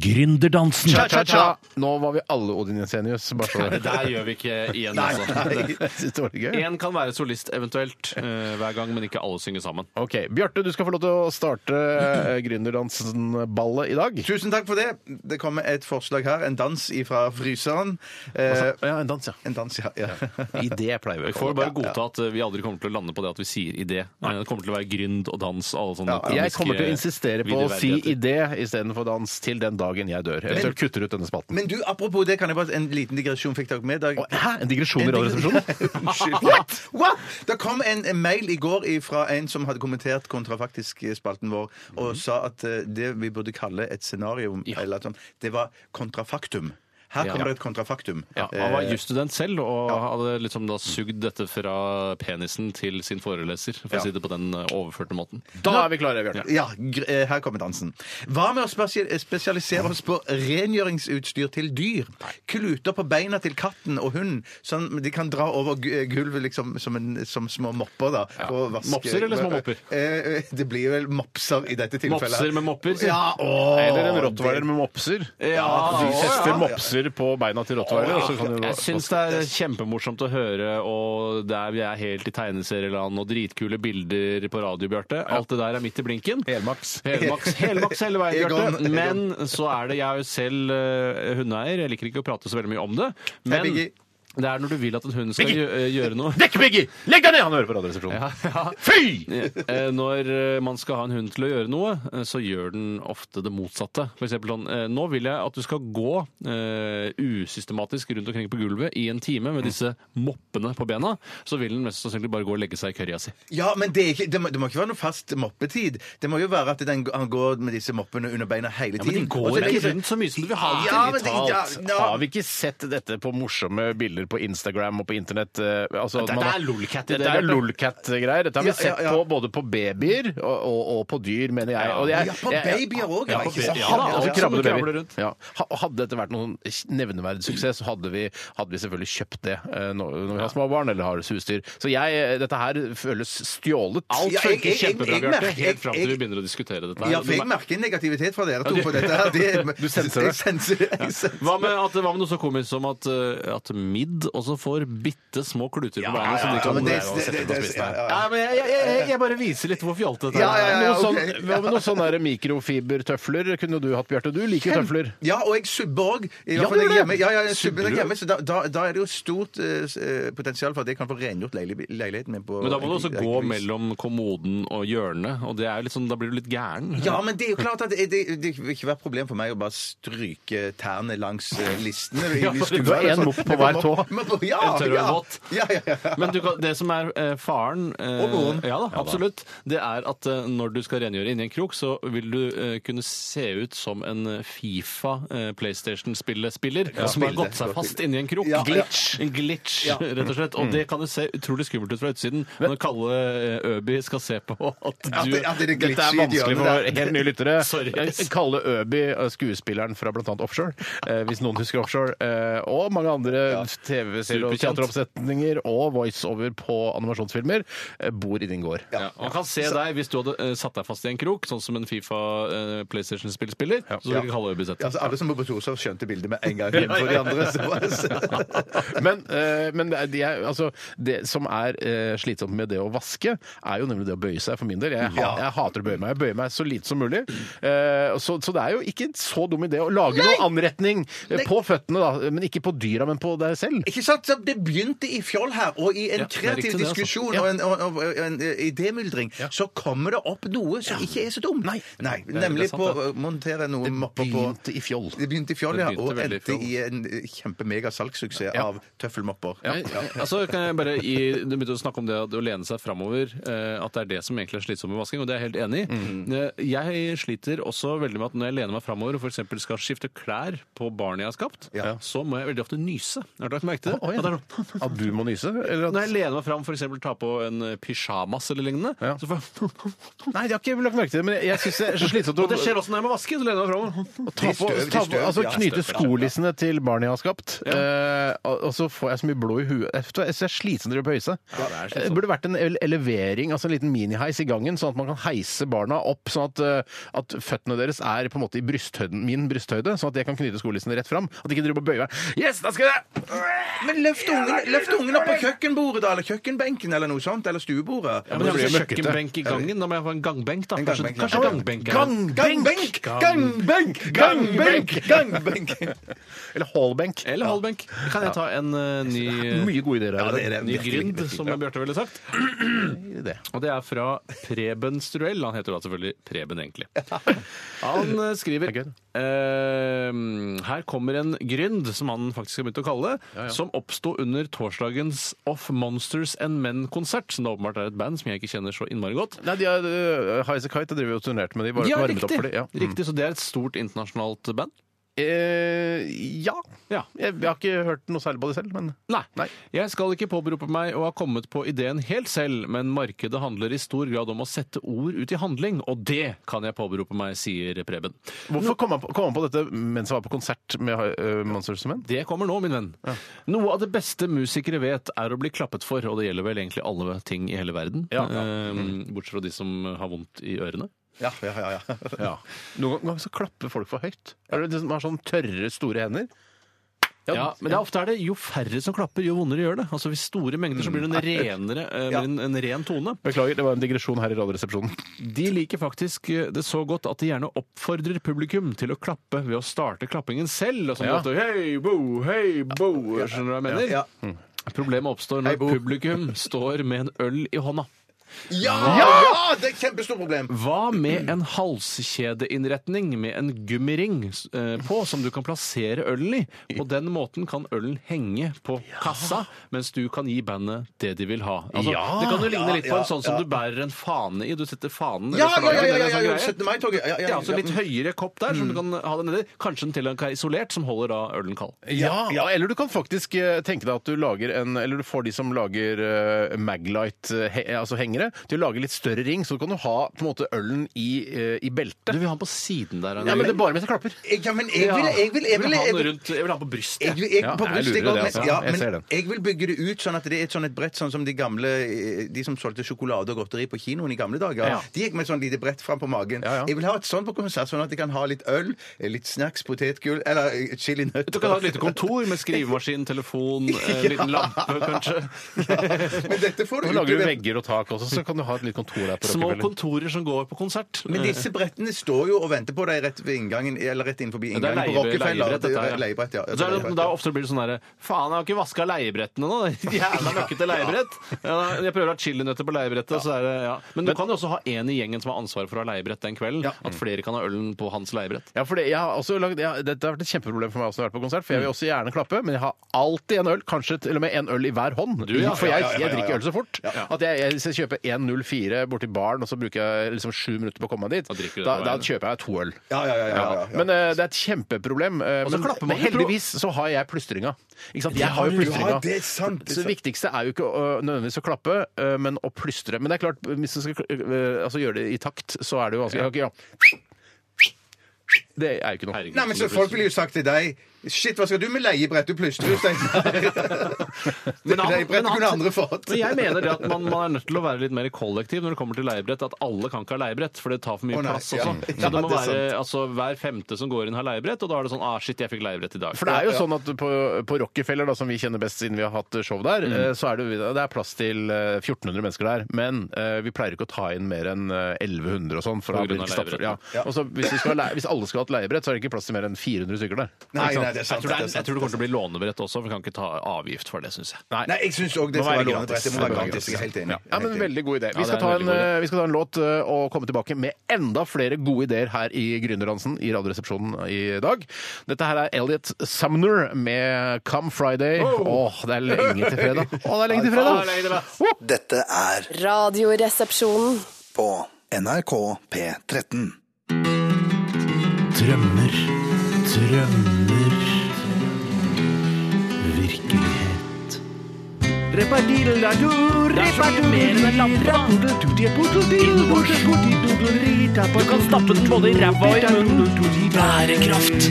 Gründerdansen
Cha-cha-cha! Nå var vi alle Odin Jensenius. Bare så
Det der gjør vi ikke igjen, altså.
Jeg synes det var litt gøy.
Én kan være solist eventuelt eh, hver gang, men ikke alle synger sammen.
Ok, Bjarte, du skal få lov til å starte eh, gründerdansen-ballet i dag.
Tusen takk for det. Det kommer et forslag her. En dans ifra fryseren. Eh,
Ja, en dans, ja.
en dans, ja. ja.
Idé pleier
Vi
vi å
får
kalle det.
bare godta at eh, vi aldri kommer til å lande på det at vi sier idé. Men det kommer til å være grynd og dans og alle sånne
Jeg
komiske
kommer til å insistere på å si
videoverdigheter.
idé istedenfor dans til den dagen jeg dør. Eventuelt kutter ut denne spalten.
Men du, apropos det, kan jeg bare en liten digresjon fikk dere med? Dag.
Å, Hæ? En digresjon i
En
Radioresepsjonen?
Unnskyld. What? What? Det kom en, en mail i går fra en som hadde kommentert kontrafaktisk-spalten vår, og sa at eh, det vi burde kalle et scenario, eller et sånt, det var kontrafaktum. Her
Ja.
kommer det et kontrafaktum. Eh,
Ja,
Eh,
han var jusstudent selv og hadde liksom da sugd dette fra penisen til sin foreleser, for å si det på den eh, overførte måten.
Da er vi klare, Bjarte.
Ja, gr- eh, her kommer dansen. Hva med å spesi- spesialisere oss på rengjøringsutstyr til dyr? Kluter på beina til katten og hunden, sånn de kan dra over gu- gulvet liksom som, en, som små mopper. da. for å vaske-
Mopser eller små mopper?
Eh, eh, det blir vel mopser i dette tilfellet.
Mopser med mopper?
Ja, å,
Eller en
det-
rottweiler med mopser.
Ja,
Vi
å,
tester
ja.
mopser krasjer på beina til rottweiler. og så kan du-
Jeg syns det er kjempemorsomt å høre, og det er, vi er helt i tegneserieland, og dritkule bilder på radio, Bjarte. Alt det der er midt i blinken.
Helmaks.
Helmaks, helmaks hele veien,
Egon,
Bjarte.
Egon.
Men så er det Jeg er jo selv eh, hundeeier, jeg liker ikke å prate så veldig mye om det. Men
Biggie.
det er når du vil at en hund skal
Biggie.
gjø- eh, gjøre noe.
Vekk, Biggie! Legg deg ned! Han hører på Radioresepsjonen.
Ja, ja.
Fy!
Eh, Når eh, man skal ha en hund til å gjøre noe, eh, så gjør den ofte det motsatte. For eksempel sånn eh, Nå vil jeg at du skal gå eh, usystematisk rundt omkring på gulvet i en time med disse moppene på bena. Så vil den mest sannsynlig bare gå og legge seg i kørja si.
Ja, men det, er ikke, det, må, det må ikke være noe fast moppetid. Det må jo være at den, han går med disse moppene under beina hele tiden. Og så legger seg-
rundt så mye som du vil
ha dem til.
Ja, men det-
Digitalt.
Ja,
Ja,
Har vi ikke sett dette på morsomme bilder på Instagram og på internett? eh, Altså,
Dette
man har-
er lolcat i det,
Dette er
Bjarte.
lolcat-greier. Dette har vi
Ja, ja,
sett
ja.
på både på babyer og, og, og på dyr, mener jeg. Og jeg
Ja, på
jeg- jeg-
babyer også,
Ja,
ja,
på
ikke
babyer.
sant?
Ja, da,
Ja,
altså,
ja. Som
krabbede babyer.
krabler rundt.
Ja. Ha- Hadde dette vært noen nevneverdig suksess, så hadde vi, hadde vi selvfølgelig kjøpt det eh, når når vi har små barn eller har husdyr. Så jeg, eh, dette her føles stjålet.
Alt
Ja, jeg- jeg-
funker
jeg-
kjempebra,
jeg
Bjarte,
merker- jeg-
helt fram til vi
jeg-
begynner å diskutere dette. her.
Ja, for jeg merker negativitet fra dere to på dette. her. Det,
Du senser
Jeg
det?
senser, jeg senser.
Hva med, at, hva med noe så komisk som at, eh, at midd også får bitte små kluter på beina? som de
ja,
kan
men det-
og
det-
sette
det-
på
det-
spissen her.
ja,
Ja, men jeg, jeg, jeg, jeg bare viser litt hvor fjollete dette
Ja, ja, ja,
Noe
ok.
sånn, hva med noe sånn der mikrofibertøfler kunne du hatt, Bjarte? Du liker jo tøfler.
Ja, og jeg subber òg.
Ja, du gjør det.
Ja, ja, jeg
Subber
subber når jeg
du?
er hjemme, så da, da, da er det jo stort eh, s- eh, potensial for at jeg kan få rengjort leili- leiligheten min på
Men da må du også
en- en-
gå
en-
mellom kommoden og hjørnet, og det er jo litt sånn, da blir du litt gæren.
Ja, men det er jo klart at det, det, det vil ikke være et problem for meg å bare stryke tærne langs eh, listene. i
Ja, for
stua,
du har
eller
en
sånn.
mopp på
Jeg kommer
hver tå.
opp- mopp- Ja,
En tørr og en
ja.
våt.
Ja, ja, ja.
Men du kan, det som er eh, faren eh,
Og moren.
Ja da, absolutt. Det er at eh, når du skal rengjøre inni en krok, så vil du eh, kunne se ut som en eh, Fifa eh, PlayStation-spillespiller som har
spille.
gått seg fast inni en krok.
Ja, Mm. ja.
glitch. En glitch, rett og slett. Og det kan jo se utrolig skummelt ut fra utsiden når Kalle eh, Øby skal se på at
At
du
det- at det er glitch
Dette er
i
vanskelig
hjørnet
for
der.
helt nye lyttere.
Sorry.
eh, Kalle Øby, eh, skuespilleren fra bl.a. Offshore, eh, hvis noen husker Offshore, eh, og mange andre TV-serier og
Superkjent.
teateroppsetninger og voiceover på animasjonsfilmer, eh, bor i din gård.
Ja. og Han kan se deg hvis du hadde eh, satt deg fast i en krok, sånn som en Fifa eh, PlayStation-spillspiller. Så ville Kalle Øby sett
Ja,
det.
altså, alle som bor på Torshov, skjønte bildet med en gang. For de andre så var det så-
Men, eh, men det, er- de er, altså, det som er eh, slitsomt med det å vaske, er jo nemlig det å bøye seg, for min del. Jeg, ha- jeg hater å bøye meg. Jeg bøyer meg så lite som mulig. Eh, så, så det er jo ikke en så dum idé å lage noe anretning eh, på føttene, da, men ikke på dyra, men på deg selv.
Ikke sant? Så det begynte i fjoll her, og i en
Ja, det er
kreativ
riktig det, altså.
diskusjon
Ja.
og en, og, og, og en eh, idémyldring, så kommer det opp noe som ikke er så dumt. Nei, Nemlig
sant,
på å
det.
montere noen mopper på
Begynte i fjoll.
Det begynte i fjoll,
Det
ja.
begynte
Og
veldig
endte
i fjoll.
i en eh, kjempemega-salgssuksess av tøffelmopper.
Nei, altså kan jeg bare i, Du begynte å snakke om det at å lene seg framover, eh, at det er det som egentlig er slitsomt med vasking, og det er jeg helt enig i. Eh, Jeg sliter også veldig med at når jeg lener meg framover og f.eks. skal skifte klær på barnet jeg har skapt,
Ja.
så må jeg veldig ofte nyse. Har du lagt merke til det?
Å, å, ja.
At det er sånn-
At du må nyse? Eller at...
Når jeg lener meg fram, f.eks. ta på en eh, pysjamas eller lignende,
Ja.
så får jeg
Nei, jeg har ikke lagt merke til det, men jeg syns det er så slitsomt å
Og det skjer også når jeg må vaske! Så lener jeg meg framover.
ta på,
støv,
ta
det
på,
støv,
altså
ja,
knyte
støv, ja.
skolissene til barnet jeg har skapt. eh, og og så får jeg så mye blod i huet. Jeg synes det er slitsomt å pøyse.
det er
det Eh, burde vært en ele- elevering, altså en liten miniheis i gangen, sånn at man kan heise barna opp sånn at, eh, at føttene deres er på en måte i brysthøyden, min brysthøyde, sånn at jeg kan knyte skolissene rett fram. At de ikke driver og bøyer meg. Yes, da skal jeg
Men løft ungen, løft ungen opp på kjøkkenbordet, da, eller kjøkkenbenken, eller noe sånt, eller stuebordet.
Ja, men
det
jeg
blir
har
møkkete.
ikke kjøkkenbenk i gangen. Da må jeg få en gangbenk. da.
En
Kanskje,
gangbenk, ja.
kanskje gangbenk er-
Gangbenk! Gangbenk! Gangbenk! Gangbenk!
Eller hallbenk.
Eller holdbenk. Kan jeg ta en eh, ny, eh,
Mye gode ideer her.
Ja, det er det.
ny
Virkelig,
grind,
virkelig.
som Bjarte ville sagt?
det.
Og det er fra Preben Struell. Han heter da selvfølgelig Preben, egentlig. Han eh, skriver
Det er gøy,
ehm, Her kommer en grynd, som han faktisk har begynt å kalle det, som oppsto under torsdagens Off Monsters and Men-konsert, som da åpenbart er et band som jeg ikke kjenner så innmari godt.
Nei, de har, uh, Highasakite driver jo og turnerte med de, bare
Ja,
varmet opp
riktig.
for de. Ja. Mm.
riktig. Så det er et stort internasjonalt band?
Eh, ja.
Ja.
Jeg, jeg har ikke hørt noe særlig på det selv, men
Nei.
Nei.
Jeg skal ikke påberope meg å ha kommet på ideen helt selv, men markedet handler i stor grad om å sette ord ut i handling, og det kan jeg påberope meg, sier Preben.
Hvorfor kom han på, kom han på dette mens han var på konsert med uh, Monsters and Men?
Det kommer nå, min venn. Noe av det beste musikere vet, er å bli klappet for, og det gjelder vel egentlig alle ting i hele verden.
Ja. Mm.
Ehm, bortsett fra de som har vondt i ørene.
Ja, ja, ja. ja.
Noen ganger så klapper folk for høyt. Er det de som har sånn tørre, store hender?
Ja, men det er ofte er det jo færre som klapper, jo vondere gjør det. Altså Hvis store mengder så blir det en renere, eh,
Mm. Ja.
mer en, en ren tone.
Beklager, det var en digresjon her i Radioresepsjonen.
De liker faktisk eh, det så godt at de gjerne oppfordrer publikum til å klappe ved å starte klappingen selv. Og sånn
Ja.
at, hei, bo, hei, bo, skjønner du hva jeg mener?
Ja.
Problemet oppstår
Hei,
når
bo.
publikum står med en øl i hånda.
Ja! Det er et kjempestort problem!
Hva med en halskjedeinnretning med en gummiring eh, på som du kan plassere ølen i? På den måten kan ølen henge på kassa, mens du kan gi bandet det de vil ha. Altså,
Ja.
det kan jo ligne litt på
Ja,
en sånn som
ja.
du bærer en fane i. Du setter fanen
Ja, ja,
flagget
ja! ja,
ned i en
ja,
sånn
ja,
greie.
17. mai-toget. Ja, Mm.
Ja, altså litt høyere kopp der, som du kan ha det nedi. Kanskje den til og med er isolert, som holder da ølen kald.
Ja, ja, eller du kan faktisk eh, tenke deg at du lager en Eller du får de som lager eh, Maglite, eh, he, altså hengere, til å lage litt større ring, så kan du ha på en måte ølen i, eh, i
Du
beltet.
vil ha den på siden der.
Ja, men det er bare mens jeg klapper.
Ja, men jeg vil, jeg vil, jeg vil,
ha
jeg
den
vil
rundt, jeg vil ha den på brystet.
jeg, jeg,
Ja,
på
jeg
brystet,
lurer
jeg, også,
det, altså.
men, ja,
Jeg ser
men
den.
jeg vil bygge det ut sånn at det er et, sånn et brett sånn som de gamle eh, De som solgte sjokolade og godteri på kinoen i gamle dager.
Ja.
De gikk med sånn lite brett fram på magen.
Ja, ja.
Jeg vil ha et sånt på konsert, sånn at jeg kan ha litt øl, eh, litt snacks, potetgull eller eh, chilinøtter.
Du kan ha et lite kontor med skrivemaskin, telefon, en liten lampe kanskje.
Men dette får
Så
du
lager du
utover-
vegger og tak også, så kan du ha et lite kontor der. på
Små
Rockefeller.
kontorer som går på konsert.
Men disse brettene står jo og venter på deg rett ved inngangen, eller rett innenfor
Det er
inngangen på
leie-
Rockefeller.
leiebrett, dette her.
Det er Leiebrett, ja.
Og så er det, da ofte blir det sånn derre Faen, jeg har ikke vaska leiebrettene nå! det er Jævla møkkete leiebrett! Ja, jeg prøver å ha chilinøtter på leiebrettet, så er det ja. Men du kan jo også ha en i gjengen som har ansvaret for å ha leiebrett den kvelden. At flere kan ha ølen på hans leiebrett.
Ja, for det, jeg har også lagd, jeg, har- Dette har vært et kjempeproblem for meg også når jeg har vært på konsert, for jeg vil også gjerne klappe, men jeg har alltid en øl, kanskje til og med en øl i hver hånd.
ja.
For
Ja,
jeg,
ja, ja,
jeg
ja,
drikker
ja.
øl så fort at jeg, jeg, hvis jeg kjøper 1,04 borti baren, og så bruker jeg liksom sju minutter på å komme meg
Da drikker
dit,
du
da,
det på
da
veien.
kjøper jeg to øl.
Ja, ja, ja, ja, ja, ja.
Men eh, det er et kjempeproblem. eh,
Og så
men,
klapper man
men
jo pro-
heldigvis så har jeg plystringa. Ikke sant? Jeg har jo
du har-
plystringa.
det er sant, det er
Så det viktigste er jo ikke å, nødvendigvis å klappe, eh, men å plystre. Men det er klart, hvis du skal eh, altså, gjøre det i takt, så er det jo vanskelig. Ok, ja. Det er jo ikke noe.
Nei, men så Folk ville jo sagt til deg Shit, hva skal du med leiebrett? Du plystrer jo, Steinar. Leiebrett kunne andre fått.
men jeg mener det at man, man er nødt til å være litt mer kollektiv når det kommer til leiebrett. At alle kan ikke ha leiebrett, for det tar for mye
Å, nei,
plass
ja.
også.
Ja,
Så det må
det er
være altså, hver femte som går inn, har leiebrett, og da er det sånn ah, shit, jeg fikk leiebrett i dag.
For det er jo sånn at på, på Rockefeller, da, som vi kjenner best siden vi har hatt show der, eh, så er det, jo- det er plass til eh, 1400 mennesker der. Men eh, vi pleier ikke å ta inn mer enn eh, 1100 og sånn. for
På
da blir
grunn
det
av
ikke stappfull. Ja.
leiebrett.
Og så hvis, vi skal ha le- hvis alle skal ha et leiebrett, så er det ikke plass til mer enn 400 stykker der.
Nei,
Ikke sant?
nei, det er
Jeg
sant.
tror, det
det
er,
er
jeg
sant.
tror det kommer til å bli lånebrett også, for vi kan ikke ta avgift for det, syns jeg.
Nei, jeg syns òg det
Må
skal
være
være lånebrett. Det må være
gratis.
gratis. Jeg er helt enig.
Ja, men Veldig god idé. Vi
Ja,
skal,
det er
ta
en
en,
veldig god
eh, vi skal ta en låt eh, og komme tilbake med enda flere gode ideer her i Gründerdansen i Radioresepsjonen eh, i dag. Dette her er Elliot Sumner med Come Friday. Åh, det er lenge til fredag! Åh, det er lenge til
Åh, det er lenge til
fredag!
fredag.
Woo!
Dette er
Radioresepsjonen.
på NRK P13.
Drømmer, drømmer Virkelighet
Du kan stappe den både i ræva og i munnen. Bærekraft.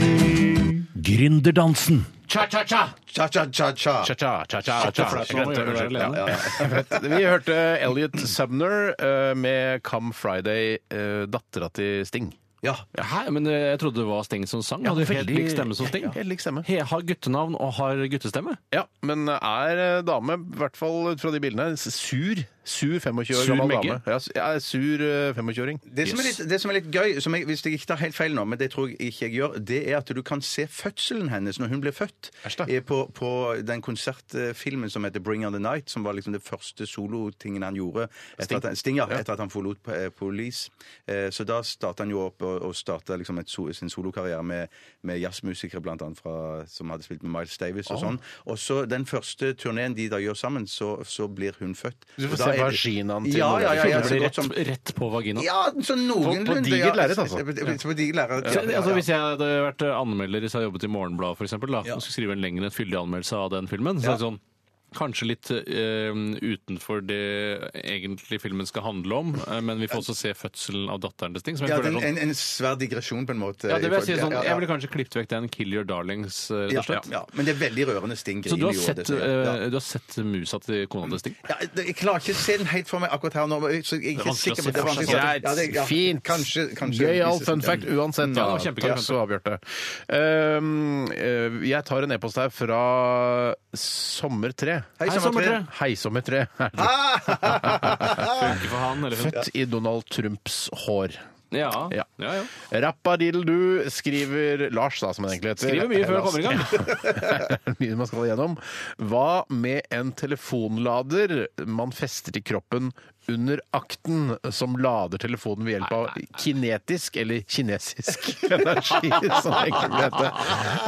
Gründerdansen
Cha-cha-cha!
Cha-cha-cha-cha.
Cha-cha, cha-cha, cha-cha.
for det er
Jeg
sånn man gjør det
glemte, unnskyld.
alene.
Ja, ja, jeg vet. Vi hørte Elliot Sumner eh, med Come Friday, eh, dattera til Sting.
Ja.
Hæ? Men eh, jeg trodde det var Sting som sang. Hadde helt
veldig-
lik stemme som Sting.
Ja, helt lik stemme.
He, har guttenavn og har guttestemme.
Ja, men er eh, dame, i hvert fall ut fra de bildene, s- sur. Sur 25 år
Sur
gammel
Megge?
dame. Ja, s- ja, sur eh, 25-åring.
Det som, er litt, det som er litt gøy, som jeg, hvis jeg ikke tar helt feil nå, men det tror jeg ikke jeg gjør, det er at du kan se fødselen hennes når hun ble født
Æsj da.
eh, på, på den konsertfilmen som heter 'Bring on the Night', som var liksom det første solotingen han gjorde etter at han, Sting, ja, etter at han forlot eh, Police. Eh, Så da starta han jo opp og, og starta liksom et, so- sin solokarriere med, med jazzmusikere, blant annet fra, som hadde spilt med Miles Davis og sånn. Og så den første turneen de da gjør sammen, så, så blir hun født.
Du får
Og da
se
er det-
vaginaen til
Ja,
Norge.
ja, ja, ja,
det
så
blir
godt
rett,
som
rett på vaginaen.
ja, sånn noenlunde.
På- på digert
ja.
lerret, altså.
På- på- På digert lerret.
Så,
ja, ja,
altså,
ja.
hvis jeg hadde vært eh, anmelder hvis jeg hadde jobbet i Morgenbladet for eksempel, da, og skulle skrive en lengre enn fyldig anmeldelse av den filmen, så er det sånn Kanskje litt eh, utenfor det egentlig filmen skal handle om, eh, men vi får også se fødselen av datteren til Sting. Som jeg
Ja,
føler
det
er
er
sånn,
en, en svær digresjon, på en måte.
ja, det vil jeg si
i forhold-
sånn,
ja, ja,
jeg
ja.
ville kanskje klippet vekk den 'Kill Your Darlings', eh, rett
ja,
og slett.
ja, men det er veldig rørende Sting
Så du har,
griner jo,
sett,
det ser jeg. Ja.
eh, du har sett musa til kona til Sting?
Ja, det- jeg klarer ikke å se den helt for meg akkurat her nå. men jeg- Så jeg er ikke
Det er vanskelig å
sikker på
se for seg.
vanskelig å se. Ja, det- ja,
Fint.
Kanskje, kanskje,
Gøyal fun fact
Ja,
uansett.
det var
da.
kjempegøy.
Takk skal du ha, Bjarte. Um, eh, jeg tar en e-post her fra Sommertre.
Hei, Sommertre.
Hei, Sommertre.
Funker for han, eller hun?
Født i Donald Trumps hår.
Ja.
Ja.
ja, ja.
Rappadildu skriver Lars, da, som han egentlig heter.
Skriver mye før jeg kommer i gang.
gang. mye man skal igjennom. Hva med en telefonlader man fester til kroppen under akten, som lader telefonen ved hjelp av kinetisk eller kinesisk energi, som det egentlig vil hete.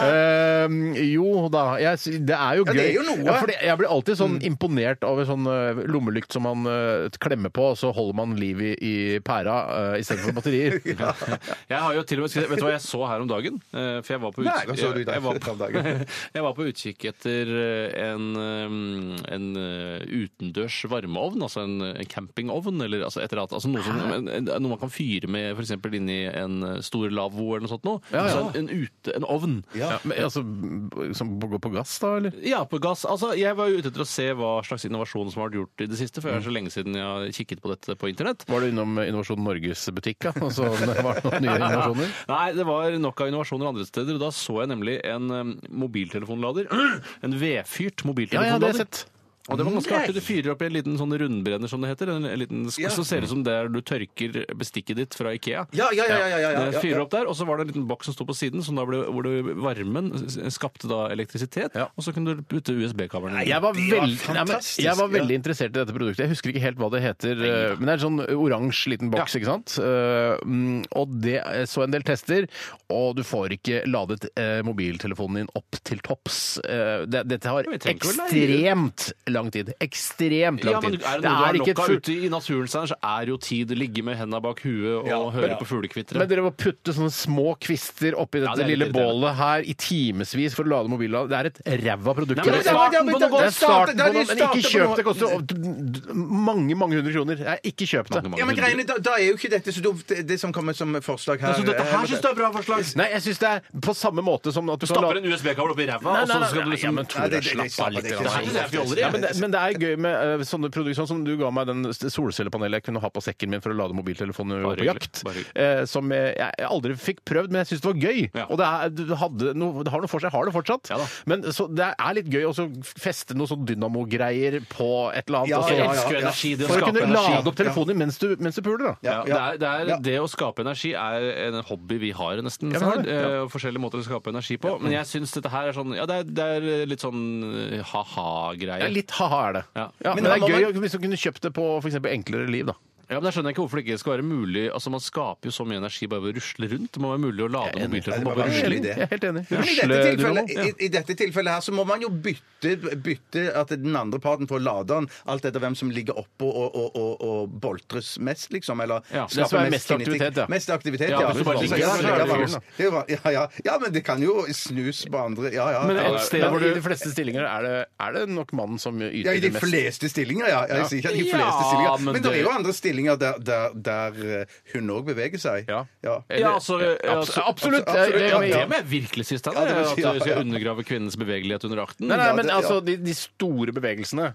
Ehm, jo da, jeg, sy- det er jo
Ja,
gøy.
det er jo noe. Mm.
Ja, fordi jeg blir alltid sånn imponert over sånn eh, lommelykt som man eh, klemmer på, og så holder man liv i, i pæra uh, istedenfor batterier.
Jeg har jo til og med skrevet, Vet du hva jeg så her om dagen? Eh, For jeg var på
Nei, hva så du
jeg,
der
jeg, var
om dagen?
på, jeg var på utkikk etter eh, en, eh, en eh, utendørs varmeovn, altså en, en campingovn, eller altså et eller annet. Altså noe, som,
Ah.
en, en, noe man kan fyre med f.eks. inni en eh, stor lavvo eller noe sånt noe.
Ja, ja.
Altså en, en, ute, en ovn.
Ja, men, altså, b- som går på gass, da? eller?
Ja, på gass. Altså, jeg var jo ute etter å se hva slags innovasjon som har vært gjort i det siste, for det er
Mm.
så lenge siden jeg har kikket på dette på internett.
Var du innom eh, Innovasjon Norges butikk, da? Og så var det noen nye innovasjoner?
Nei, det var nok av innovasjoner andre steder. og Da så jeg nemlig en em, mobiltelefonlader. En vedfyrt
Ja, ja,
mobiltelefonlader.
det har jeg sett.
Og det var ganske artig. Du fyrer opp i en liten sånn rundbrenner, som det heter. En, en liten, sk- Som ser ut som der du tørker bestikket ditt fra Ikea.
Ja, ja, ja, ja, ja, ja, ja,
Den
ja.
Fyrer opp der, og så var det en liten boks som sto på siden, som da ble, hvor det varmen s- skapte da elektrisitet.
Ja.
Og så kunne du putte USB-kabelen
Jeg var,
det var
veldig- Nei, men
fantastisk,
jeg var
ja.
veldig interessert i dette produktet. Jeg husker ikke helt hva det heter, eh, men det er en sånn oransje liten boks, ikke sant? Eh, mm, Og det jeg så en del tester, og du får ikke ladet eh, mobiltelefonen din opp til topps. Eh, det- Dette har
vi trenger ikke å leie.
ekstremt lang tid. Ekstremt
Ja,
lang
men
tid.
er det noe du har
et
lokka
full-
ute i naturen, Steinar, så er jo tid ligge med henda bak huet og høre på fuglekvitteret.
Men dere må putte sånne små kvister oppi dette
Ja, det er litt
lille
irriterende.
bålet her i timevis for å lade mobilen. Det er et ræva produkt.
Nei, men det er starten på noe.
Det er starten
Det
på
er
noe, men
starten
ikke
på
kjøp
noe.
det. Det koster jo mange, mange hundre kroner. Nei, ikke kjøp det.
Mange, mange
Ja, men
hundre.
greiene, da, da er jo ikke dette så dumt, det det som kommer som forslag her.
Så dette her syns du er bra forslag?
Nei, jeg syns det er på samme måte som at du kan
Stapper
lade
en USB-kabel oppi ræva,
Nei,
og så
nei, nei,
skal du
nei, ja,
liksom
men Tore,
Nei, det- det- det-
slapp av litt.
det-
Nei, men det er fjolleri.
Ja, men, det, men det er gøy med eh, sånne produkter sånn som du ga meg den s- solcellepanelet jeg kunne ha på sekken min for å lade mobiltelefonen når
Bare
vi var på
hyggelig,
jakt.
bare hyggelig.
eh, som jeg, jeg aldri fikk prøvd, men jeg syntes det var gøy.
Ja.
Og det, er, du hadde noe, det har noe for seg. Har det fortsatt.
Ja da.
men så det er litt gøy å så feste noe sånn dynamogreier på et eller annet.
Ja,
og så-
Jeg
ja, ja.
elsker jo energi, det å
For å
skape
kunne lade
energi.
opp telefonen din mens du, mens du puler, da.
Ja, det, er, det, er,
Ja.
det å skape energi er en hobby vi har, nesten.
Ja, vi har det,
Steinar. Eh, Forskjellige måter å skape energi på. Men jeg syns dette her er sånn Ja, det er, det er litt sånn eh,
Ja,
ha-ha-greie.
litt ha-ha er det.
Ja.
Men, det
da
er
må
gøy å- hvis du kunne kjøpt det på f.eks. Enklere liv, da.
Ja, men Jeg skjønner ikke hvorfor det ikke skal være mulig. Altså, Man skaper jo så mye energi bare ved å rusle rundt. Det må være mulig å lade mobiltelefonen
det
bare ved å
var
rusle
veldig-
inn.
Jeg er helt
Men
enig.
i dette,
Rusle-
tilfellet,
dynamo.
i, I dette tilfellet her så må man jo bytte, bytte at den andre parten får laderen, alt etter hvem som ligger oppå og, og, og, og boltres mest, liksom. Eller
Ja,
skaper
det som er mest
kinetikk.
aktivitet, ja.
Mest aktivitet,
Ja,
ja.
hvis du bare
Så-
ligger
ja,
der, så
ja,
er det
ja,
fyren, da.
det er jo bra. ja, ja. ja, men det kan jo snus på andre. Ja, ja.
Men
ja,
et
ja.
sted hvor
Men i
du-
de fleste stillinger er det, er det nok mannen som yter
Ja, I de
det mest.
fleste stillinger, ja. Jeg sier ikke at de
Ja,
fleste stillinger. Men, det
men det-
er jo andre stillinger der, der, der eh, hun òg beveger seg.
Ja.
Ja, altså, altså-
Eller- Abs- absolutt!
absolutt,
Jeg- jeg-
Ja,
jeg-
det må jeg virkelig si, Steinar.
Ja, det må jeg
at
si,
du
ja,
skal
ja.
undergrave kvinnens bevegelighet under akten.
Nei, nei, men
Ja, det-
altså, de, de store bevegelsene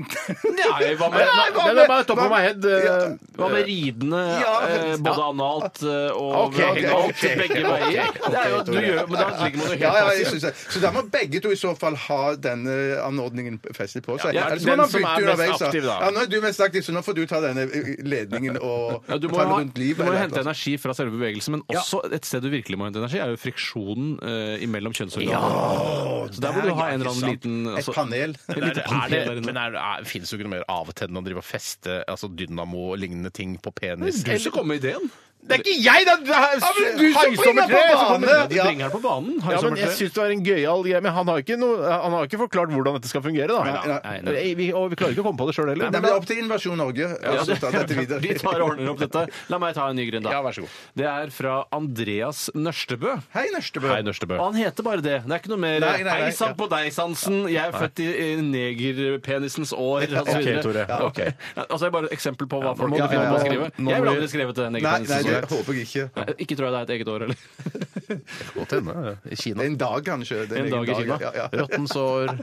Nei, hva
Nei,
med
nei,
med-
det er bare topp
hva-
av meg head. eh,
Hva med ridende
Ja,
eh,
faktisk.
både analt eh, og
Ok, ok,
og alt
ok,
begge
ok,
veier?
ok,
Det er jo, du
Tore.
gjør, men da ligger man jo helt
Ja, ja, jeg
passiv.
synes det. Så da må begge to i så fall ha denne anordningen festet på seg.
Ja,
Eller så må
den
man
som
bytte
er mest
underveis,
aktiv, da.
Ja, nå er du mest aktiv, så nå får du ta denne eh, ledningen og
Ja, du må,
ta den
ha,
rundt livet. altså.
du må
eller
jo
et
hente
eller annet.
energi fra selve bevegelsen, men også et sted du virkelig må hente energi, er jo friksjonen eh, imellom kjønnsorganene.
Åh,
Så der må du
er
ha
ikke
en eller annen
sant.
liten altså,
Et panel.
Et
Er det,
lite panel der
men
inne.
er, er, finnes jo ikke noe mer avtennende å drive og feste altså dynamo-lignende ting på penis?
Du som kom med ideen.
Det er ikke jeg! Det er, det er
Ja, men du som bringer
Haisommertre
på
som kommer-
bane!
Du
Ja.
bringer den på banen. Har
Ja,
jeg
men jeg syns det var en gøyal greie, men han har, ikke noe, han har ikke forklart hvordan dette skal fungere, da.
Nei, nei.
Nei, Vi, og vi klarer ikke å komme på det sjøl heller.
Det blir opp til Invasjon Norge. Ja,
det-
ta dette videre.
De tar og ordner opp dette. La meg ta en ny grunn, da.
Ja, vær så god.
Det er fra Andreas Nørstebø.
Hei, Nørstebø.
Hei, Nørstebø.
Og han heter bare det. Det er ikke noe mer
Nei, nei, nei.
Hei sann på deg, Sansen. Jeg er født i i negerpenisens år. og så
Ok,
videre.
Tore.
Ja,
ok.
Altså, det er bare et eksempel på hva folk
må
finner
du finne
på å
på.
skrive.
Nå må
Jeg ville
vi-
aldri skrevet det
Nei, nei,
negerpenisens
det
år.
håper jeg ikke.
Nei, Ikke tror jeg det er et eget år, eller?
Godt hende. I Kina.
En dag, kanskje. Det er
En dag i
egen
Kina.
Ja, ja.
Rottens år,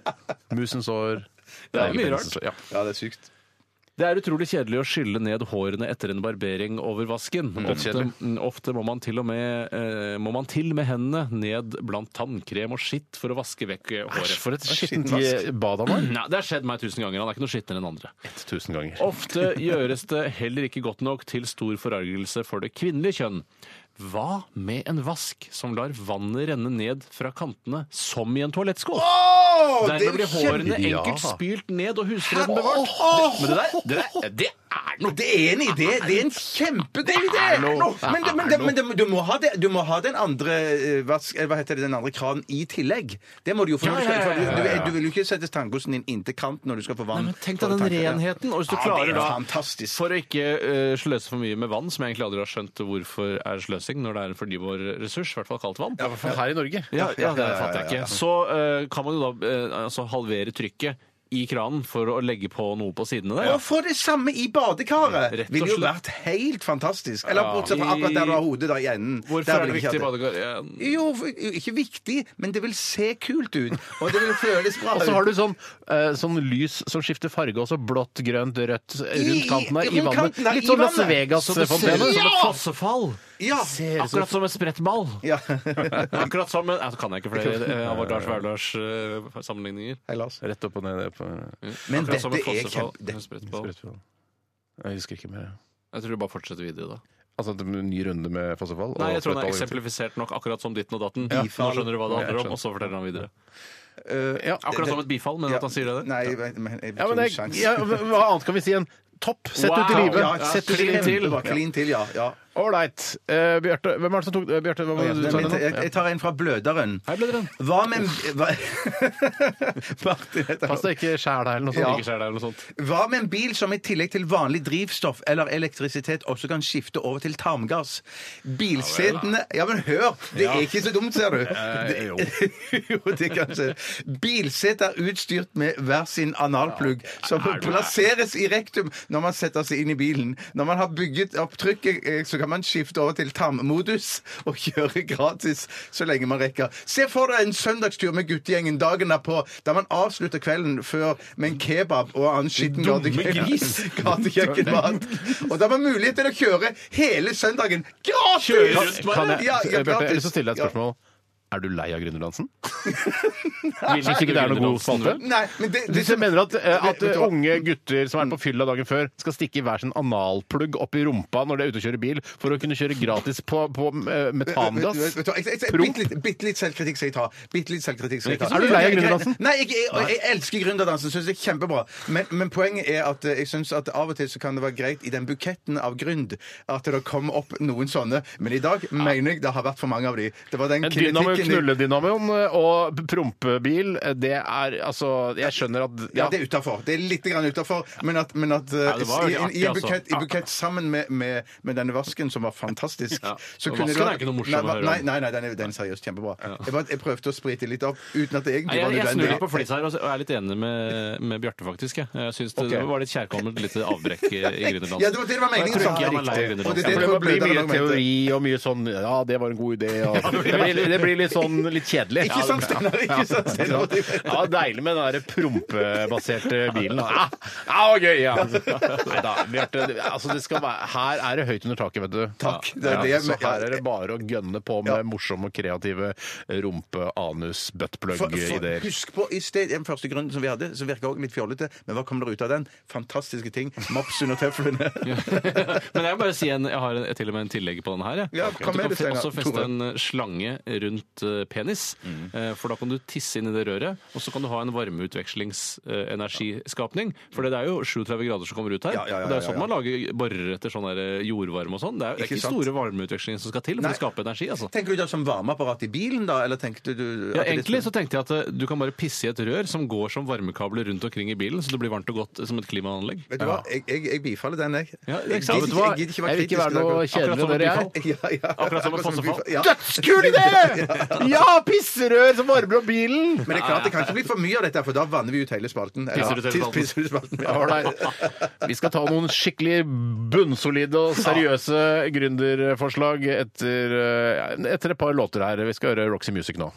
musens år
Det er mye
Penisens
rart.
år, ja.
ja, det er sykt.
Det er utrolig kjedelig å skylle ned hårene etter en barbering over vasken. Ofte, mm, ofte må, man til og med, eh, må man til med hendene ned blant tannkrem og skitt for å vaske vekk eh, håret.
For et skittent i- bad han har.
Nei, det har skjedd meg tusen ganger. Han er ikke noe skitnere enn andre.
Tusen ganger.
Ofte gjøres det heller ikke godt nok til stor forargelse for det kvinnelige kjønn. Hva med en vask som lar vannet renne ned fra kantene som i en toalettskål?
det er
Dermed blir hårene
kjempe-
enkelt
Ja.
spylt ned og husfreden bevart. Men det der, det der det er noe
Det er en
Ah,
idé! Det er en kjempedeilig idé! Men, det, men, det, men det, du, må ha det, du må ha den andre eh, vask, eh, hva heter det, den andre kranen i tillegg. Det må du jo få. når du skal- for du- Du, du vil jo ikke sette tannkosten din inntil kanten når du skal få vann.
Nei, men Tenk deg den renheten. Og hvis du
Ja, det
klarer
er
da,
fantastisk.
for å ikke eh, sløse for mye med vann, som jeg egentlig aldri har skjønt hvorfor er sløsing når det er en fornybar ressurs, i hvert fall kaldt vann.
For Her i Norge.
Ja, ja, det
ja, ja,
fatter jeg
ja, ja.
ikke. Så eh, kan man jo da eh, altså halvere trykket i kranen for å legge på noe på sidene der.
Å få det samme i badekaret
Rett og
ville jo
slett.
vært helt fantastisk. Eller
Ja.
bortsett fra akkurat der du har hodet, da, i enden.
Hvorfor
Der
er
vil
det
jeg ikke
viktig i
ha det.
badekar? Ja,
Jo, for- ikke viktig, men det vil se kult ut. Og det vil føles bra
Og
ut.
så har du sånn, eh, sånn lys som skifter farge også. Blått, grønt, rødt rundt kantene
i-
i
rundt
vannet.
kanten, nei,
Litt
i
sånn Las
vannet.
Så det ser ut
Vegas-fontene.
som et fossefall.
Ja.
Akkurat som en sprettball.
ja.
Akkurat som en... Ja, så kan jeg ikke flere eh, av Lars Vaular-sammenligninger.
Hei, Lars.
Rett opp og ned. ned på,
Men
Akkurat som
dette
en
er
fossefall.
kjempe- det-
En sprettball.
Jeg husker ikke mer.
Jeg tror du bare fortsetter videre, da.
Altså at det blir en ny runde med fossefall? og
Nei, jeg tror han er
sprettball.
eksemplifisert nok, akkurat som ditten og datten.
Ja.
Nå skjønner du hva det
Ja, jeg
handler om,
skjønner.
og så forteller han videre.
Øh,
Ja,
Akkurat som et bifall, men
ja.
at han sier det.
Nei, men jeg
Ja, men det,
sjans.
ja, hva annet kan vi si enn topp? Sett
Wow!
ut i livet.
Ja, ja,
Sett ut i
klin
livet.
til.
Kjempebra. Klin til, ja. ja.
Ålreit. Eh, Bjarte, hvem er det som tok eh, Bjarte, hva var det du sa?
Men
nå?
jeg, jeg tar en fra Bløderen.
Her ble det den.
Hva med en- hva, Martin, heter han.
Pass deg ikke skjær deg eller noe
Ja.
sånt.
Ikke skjer deg eller noe sånt.
Hva med en bil som i tillegg til vanlig drivstoff eller elektrisitet også kan skifte over til tarmgass? Bilsetene Ja, men hør! Det er ikke så dumt, ser du.
Eh, jo.
Det, jo, det kan skje. Bilset er utstyrt med hver sin analplugg, som plasseres i rektum når man setter seg inn i bilen. Når man har bygget opp trykket, eh, så kan man skifte over til tarmmodus og kjøre gratis så lenge man rekker. Se for deg en søndagstur med guttegjengen dagen derpå, der man avslutter kvelden før med en kebab og annen skitten gatekjøkken- gatekjøkkenmat. Og da har man mulighet til å kjøre hele søndagen gratis!
Kjøre rundt, bare.
Kan jeg,
Ja, ja,
eh, Bjarte, jeg har
gratis.
lyst til å stille deg et
Ja.
spørsmål. Er du lei av Gründerdansen?
Hvis
Syns du ikke det er noe god spalte?
Nei, men det,
Du
det som-
mener at, eh, at
Vet du hva? Mm.
unge gutter som har vært på fylla dagen før, skal stikke i hver sin analplugg opp i rumpa når de er ute og kjører bil, for å kunne kjøre gratis på, på eh,
Vet-
metangass?
vet du hva, jeg- jeg- jeg-
Promp.
Bitte litt, bitte litt selvkritikk skal jeg ta. Bitte litt selvkritikk skal jeg ta.
Er du lei av gründerdansen?
Nei, jeg, jeg, jeg, jeg elsker gründerdansen. Syns det er kjempebra. Men, men poenget er at eh, jeg syns at av og til så kan det være greit i den buketten av gründ at det kommer opp noen sånne. Men i dag mener jeg det har vært for mange av de. Det var den
En dynamo,
kritikken jeg-
knulledynamioen og prompebil, eh, det er altså Jeg skjønner at
Ja, det er utafor. Det er litt grann utafor. Men at, men at eh,
Ja, det var
i,
jo
i, i, en
artig, altså.
bukett, i bukett sammen med, med, med denne vasken, som var fantastisk
Ja.
så
Og
kunne det
vasken
vært-
er ikke noe morsom å
nei,
høre om.
Nei, nei, nei den, er, den er seriøst kjempebra. Jeg, bare, jeg prøvde å sprite litt opp uten at det
Nei,
egentlig var
jeg, jeg snur litt på
nødvendig.
flis her altså, og og er litt enig med, med Bjarte, faktisk. Jeg, jeg syns det
Ok.
var litt kjærkomment lite avbrekk i i gründerdansen.
Ja, det var det det var meningen,
Jeg tror
sa
ikke
han.
han er lei av
Riktig.
gründerdansen.
Og det er
Ja,
det-
for det blir mye
Bløderen argumentet.
teori og mye sånn Ja, det var en god idé. Og, det, blir, det blir litt sånn litt kjedelig.
Ikke sant, Steinar? Ikke sant,
Ja,
Steinar?
ja, deilig med den der prompebaserte bilen. da. Ja, ja, det var gøy! Ja. Nei da, Bjarte. det- Altså, det skal være, her er det høyt under taket, vet du.
Takk. Det er
Ja,
det jeg-
så her er det bare å gønne på med
Ja.
morsomme og kreative rumpe-, anus-,
For, for,
buttplug-ideer.
husk på i sted, den første grunnen som vi hadde, som virka også litt fjollete, men hva kom der ut av den? Fantastiske ting. Mops under tøflene.
Men jeg vil bare si en, jeg har en, til og med en tillegg på den her. Jeg.
Ja,
At
kom
du
med
kan
det,
fe-
Steinar.
også feste
Tore.
en eh, slange rundt kjøttpenis.
Mm.
Eh, For da kan du tisse inn i det røret, og så kan du ha en varmeutvekslingsenergiskapning. For det er jo 37 grader som kommer ut her.
Mm. Ja, ja, ja,
og det er jo
ja,
sånn
ja.
man lager borer etter sånn der eh, jordvarme og sånn. Det er jo
Ikke
ikke,
sant?
store varmeutvekslingene som skal til for
Nei.
å skape energi, altså.
Tenker du da som varmeapparat i bilen, da? Eller tenkte du
Ja, egentlig
liksom-
så tenkte jeg at eh, du kan bare pisse i et rør som går som varmekabler rundt omkring i bilen, så det blir varmt og godt eh, som et klimaanlegg.
Vet du hva, jeg, jeg, jeg bifaller den, jeg.
Ja,
jeg,
ikke
gidder
sant? Vet du hva?
ikke- jeg gidder ikke være
Jeg vil ikke
kritisk.
være noe
Akkurat
kjedelig
som
enn dere
et
er.
Ja, ja.
Akkurat som et fossefall.
Ja.
Dødskul idé! Ja, pisserør som varmer opp bilen!
Men det er klart det kan ikke bli for mye av dette, for da vanner vi ut hele spalten. Eller-
Pisser ut hele
Tis-
spalten.
Pisser ut spalten.
Ja, ålreit. Vi skal ta noen skikkelig bunnsolide og seriøse gründerforslag etter, eh, etter et par låter her. Vi skal høre Roxy Music nå.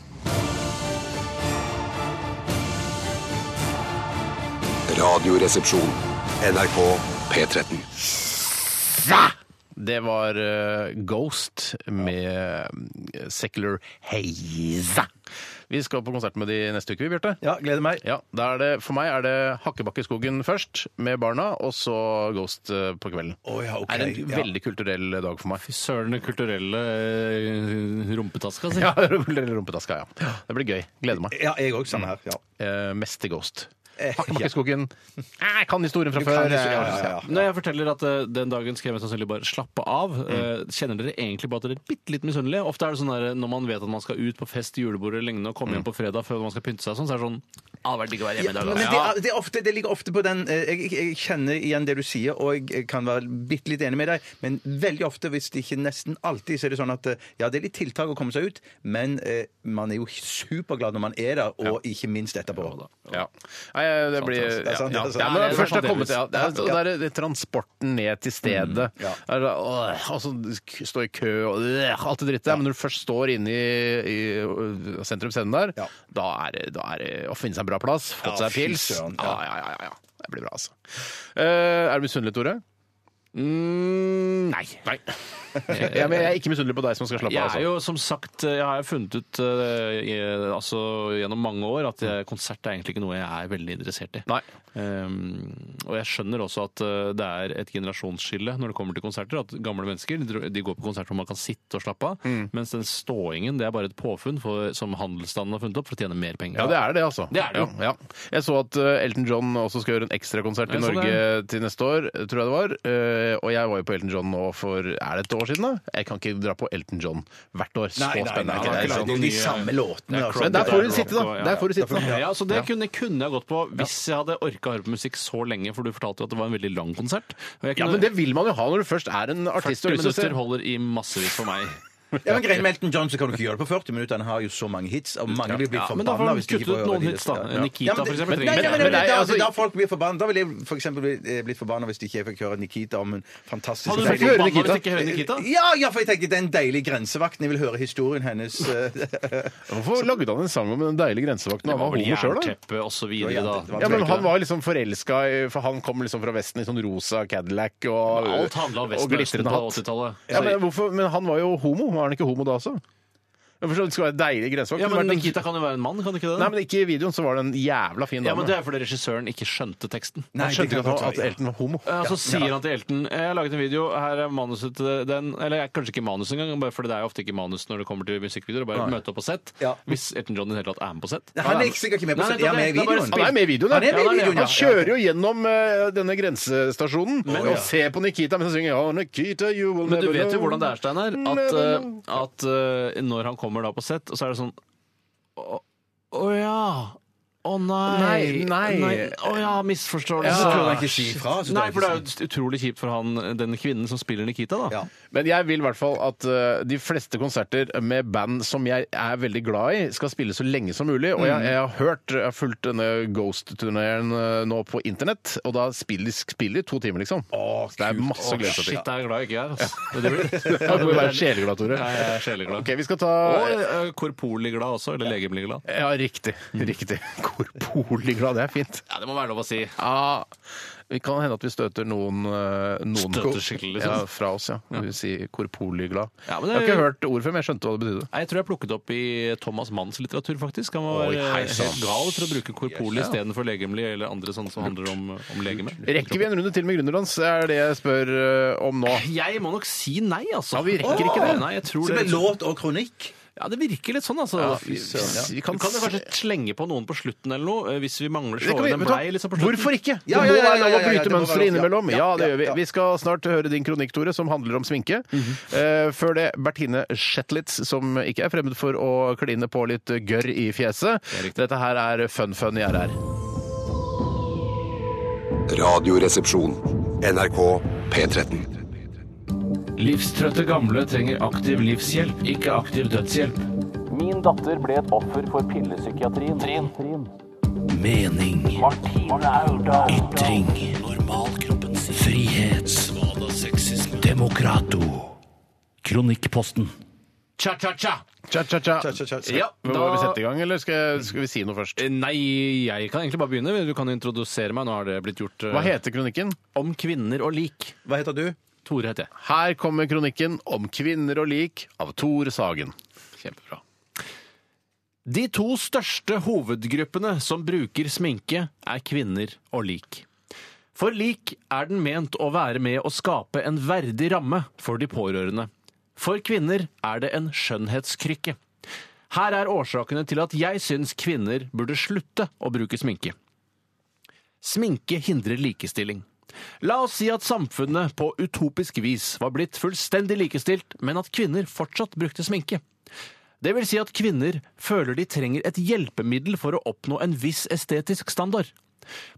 Radioresepsjon.
NRK P13.
Det var eh, Ghost med eh, Secular Haze. Vi skal på konsert med de neste uke, vi, Bjarte.
Ja, gleder meg.
Ja, da er det, For meg er det Hakkebakkeskogen først, med barna, og så Ghost eh, på kvelden.
Å, ja, ok,
er en
ja.
veldig kulturell eh, dag for meg.
Fy søren, den kulturelle eh, rumpetaska si.
Ja, kulturell rumpetaska, ja. Det blir gøy. Gleder meg.
Ja, jeg òg. Samme her. Ja.
Eh, mest til Ghost.
Eh,
Hakkebakkeskogen. Eh, Jeg kan historien fra
Du kan
før.
historien, ja, ja, ja.
Når jeg forteller at eh, den dagen skal jeg mest sannsynlig bare slappe av, eh, kjenner dere egentlig på at dere er bitte litt misunnelige? Ofte er det sånn der, når man vet at man skal ut på fest, julebord eller lignende, og komme hjem på fredag før man skal pynte seg og sånn, så er det sånn Mm. «Ah, det hadde vært digg å være hjemme i
Ja,
dag.
men det,
altså».
er- det, er ofte, det ligger ofte på den eh, jeg, jeg kjenner igjen det du sier, og jeg kan være bitte litt enig med deg, men veldig ofte, hvis det ikke nesten alltid, så er det sånn at eh, ja, det er litt tiltak å komme seg ut, men eh, man er jo superglad når man er der, og ikke minst etterpå.
Ja. Nei, eh, det blir
sant,
det er sant,
ja.
det er sant.
Ja, men
Det er
Først
sant,
har kommet til ja, det er,
delvis.
og det er det transporten ned til stedet.
Mm, ja.
Er det- åh, Og så k- stå i kø og øh, alt det drittet der. Men når du først står inne i, i øh, sentrum scenen der,
Ja.
da er det- da er det å finne seg en bra plass, fått
Ja,
seg
fy
pils. Ja,
søren, ja.
ja, ja, ja, ja. Det blir bra, altså. Eh, er du misunnelig, Tore?
Mm, nei.
Ja, men jeg er ikke misunnelig på deg som skal slappe
Jeg er
av. Altså.
jo som sagt, jeg har jo funnet ut eh, i, altså, gjennom mange år at eh, konsert er egentlig ikke noe jeg er veldig interessert i.
Nei.
Ehm, og jeg skjønner også at eh, det er et generasjonsskille når det kommer til konserter. At gamle mennesker de dro- de går på konsert hvor man kan sitte og slappe av. Mens den ståingen det er bare et påfunn for, som handelsstanden har funnet opp for å tjene mer penger.
Ja, det er det, altså.
Det er det jo.
Ja, ja. Jeg så at eh, Elton John også skal gjøre en ekstrakonsert i
Ja, sånn
Norge
er
til neste år, eh, tror jeg det var. Eh, og jeg var jo på Elton John nå for Er det et år siden, da? Jeg kan ikke dra på Elton John hvert år. Så spennende
nei,
er
nei,
ikke det.
nei,
Sånn.
nei.
de samme låtene. altså.
Men der får du
Rock,
sitte, da.
ja, ja.
Der får du sitte.
Ja,
da.
så Det kunne, kunne jeg gått på hvis jeg hadde orka å høre på musikk så lenge, for du fortalte jo at det var en veldig lang konsert. Og jeg
Ja,
kunne-
men det vil man jo ha når du først er en artist.
40
og har lyst til
minutter
å se.
holder i massevis for meg.
Ja, men Grein Melton John så kan du ikke gjøre det på 40 minutter. Han har jo så mange hits, og mange blir blitt
Ja, men da får
forbanna.
han
hvis de ikke
kutte ut
får høre
noen
de
hits, da.
listene. Ja.
Nikita,
Ja, men det-
for eksempel,
Nei,
trenger
nei,
ikke.
nei, nei,
Men nei,
da-
altså-
Da folk blir forbanna. Da ville jeg for eksempel bli- eh, blitt forbanna hvis ikke jeg fikk høre Nikita om en fantastisk
Hadde du blitt
Skal ikke høre
forbanna hvis du ikke
Nikita?
hører Nikita?
Ja, ja, for jeg tenker det er en deilig grensevakten. Jeg vil høre historien hennes. eh,
Hvorfor lagde han en sang om den deilige grensevakten? Han var homo sjøl, da.
jernteppe og så videre,
Det var
da.
jernteppe, det
Ja,
Tror
men
jeg
han
ikke
var liksom forelska i For han kom liksom fra Vesten i sånn rosa Cadillac og,
det. Alt handla om
og
Vesten og Østen
glitrende
på
hatt.
80-tallet.
Ja, men, hvorfor, men han var jo homo. Var han ikke homo da også? Jeg forstår, det skal være deilig grensevakt.
Ja,
Kunne
men
vært en-
Nikita kan jo være en mann, kan det ikke det?
Nei, men ikke i videoen så var det en jævla fin dame.
ja, men Det er fordi regissøren ikke skjønte teksten.
Nei,
Han
det kan
skjønte ikke at, han,
godt
at
være, ja.
Elton var homo.
Eh, Og så sier han til Elton Jeg har laget en video, her er manuset til den Eller jeg- kanskje ikke manus engang, bare fordi det er jo ofte ikke manus når det kommer til musikkvideoer. Bare møte opp på sett.
Ja.
Hvis Elton John i det hele tatt er med på sett.
Nei, han er ikke- sikkert ikke med på
Nei, nei,
sett. Er han med i
det er bare
videoen?
Han er med i videoen,
Han er med i
ja.
videoen, ja.
Han kjører jo gjennom eh, denne grensestasjonen og ser på Nikita mens han synger «Ja, Nikita, you will
Men du
never
vet jo
know».
hvordan det er, Steinar. At, eh, at eh, når han kommer da på sett, så er det sånn Å å ja. Å nei.
Nei, nei.
Å ja, misforståelse.
Så tør han ikke si fra. så tør
Nei,
han
for det
ikke
er jo utrolig kjipt for han, den kvinnen som spiller Nikita, da.
Ja.
Men jeg vil i hvert fall at eh, de fleste konserter med band som jeg er veldig glad i, skal spille så lenge som mulig. Og jeg, jeg har hørt, jeg har fulgt denne Ghost-turneren eh, nå på internett, og da spiller spiller de to timer, liksom.
Å,
det er
kult.
masse å glede seg
Shit,
til.
jeg er glad jeg ikke er, altså. Det blir-
Ja, Du må være sjeleglad, Tore.
Ja, jeg er sjeleglad.
Ok, vi skal ta
Og eh, korporlig glad også, eller legemlig glad.
Ja, riktig. Riktig. Korporlig glad, det er fint.
Ja, det må være lov å si.
Ja, vi kan hende at vi støter noen, eh, noen
Støter skikkelig, liksom.
Ja, fra oss, ja. Vi sier korporlig glad.
Ja, men det-
Jeg har ikke hørt ordet før, men jeg skjønte hva det betydde.
Nei, Jeg tror jeg plukket opp i Thomas Manns litteratur, faktisk. Han
Oi,
var eh,
hei, sann.
helt gal for å bruke korporlig istedenfor legemlig eller andre sånne som handler om, om legeme.
Rekker vi en runde til med Gründerdans? Det er det jeg spør eh, om nå.
Jeg må nok si nei, altså.
Ja, vi rekker ikke det.
Nei, jeg tror
Så det
det.
blir låt og kronikk.
Ja, det virker litt sånn, altså.
Ja, fy
vi,
søren, ja.
kan, kan jo kanskje slenge på noen på slutten eller noe, eh, hvis vi mangler
Det kan vi-
slående
vet du hva?
blei liksom på slutten.
Hvorfor ikke?
Ja, ja,
det må
ja, ja,
være lov å
ja, ja,
bryte
det må
mønstre
være lov.
innimellom.
Ja,
Ja, det
ja,
gjør vi.
ja. Mhm.
Vi skal snart høre din kronikk, Tore, som handler om sminke. Eh, Før det, Bertine Shetlitz, som ikke er fremmed for å kline på litt gørr i fjeset. Dette her er Fun Fun i RR.
Radioresepsjon. NRK P13.
Livstrøtte gamle trenger aktiv livshjelp, ikke aktiv dødshjelp.
Min datter ble et offer for pillepsykiatrien.
Mening. Ytring. Frihet. Demokrato. Kronikkposten.
Cha-cha-cha!
Cha-cha-cha.
Ja,
Må vi sette i gang, eller skal, jeg- skal vi si noe først?
Eh, Nei, jeg kan egentlig bare begynne. Du kan introdusere meg. Nå har det blitt gjort eh,
Hva heter kronikken?
Om kvinner og lik.
Hva heter du?
Tore heter jeg.
Her kommer kronikken om kvinner og lik av Tore Sagen.
Kjempebra. De to største hovedgruppene som bruker sminke, er kvinner og lik. For lik er den ment å være med å skape en verdig ramme for de pårørende. For kvinner er det en skjønnhetskrykke. Her er årsakene til at jeg syns kvinner burde slutte å bruke sminke. Sminke hindrer likestilling. La oss si at samfunnet på utopisk vis var blitt fullstendig likestilt, men at kvinner fortsatt brukte sminke. Det vil si at kvinner føler de trenger et hjelpemiddel for å oppnå en viss estetisk standard.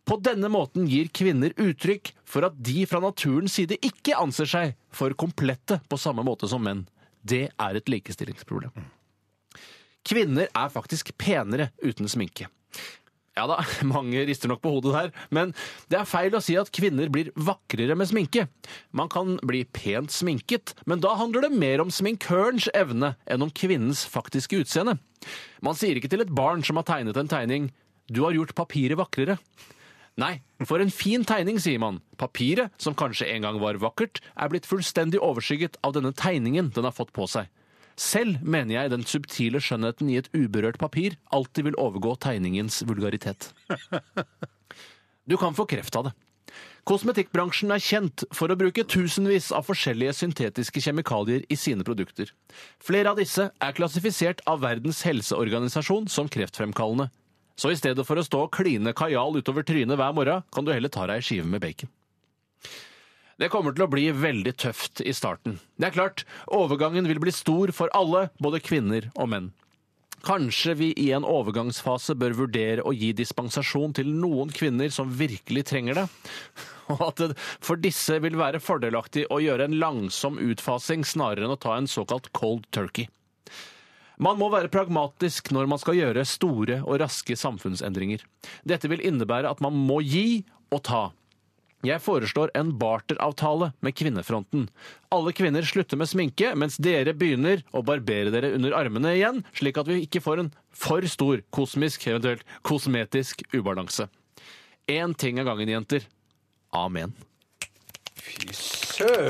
På denne måten gir kvinner uttrykk for at de fra naturens side ikke anser seg for komplette på samme måte som menn. Det er et likestillingsproblem. Kvinner er faktisk penere uten sminke. Ja da, mange rister nok på hodet der, men det er feil å si at kvinner blir vakrere med sminke. Man kan bli pent sminket, men da handler det mer om sminkørens evne enn om kvinnens faktiske utseende. Man sier ikke til et barn som har tegnet en tegning 'du har gjort papiret vakrere'. Nei, for en fin tegning, sier man. Papiret, som kanskje en gang var vakkert, er blitt fullstendig overskygget av denne tegningen den har fått på seg. Selv mener jeg den subtile skjønnheten i et uberørt papir alltid vil overgå tegningens vulgaritet. Du kan få kreft av det. Kosmetikkbransjen er kjent for å bruke tusenvis av forskjellige syntetiske kjemikalier i sine produkter. Flere av disse er klassifisert av Verdens helseorganisasjon som kreftfremkallende. Så i stedet for å stå og kline kajal utover trynet hver morgen, kan du heller ta deg ei skive med bacon. Det kommer til å bli veldig tøft i starten. Det er klart, overgangen vil bli stor for alle, både kvinner og menn. Kanskje vi i en overgangsfase bør vurdere å gi dispensasjon til noen kvinner som virkelig trenger det? Og at det for disse vil være fordelaktig å gjøre en langsom utfasing snarere enn å ta en såkalt cold turkey. Man må være pragmatisk når man skal gjøre store og raske samfunnsendringer. Dette vil innebære at man må gi og ta. Jeg foreslår en barteravtale med kvinnefronten. Alle kvinner slutter med sminke, mens dere begynner å barbere dere under armene igjen, slik at vi ikke får en for stor kosmisk, eventuelt kosmetisk ubalanse. Én ting av gangen, jenter. Amen.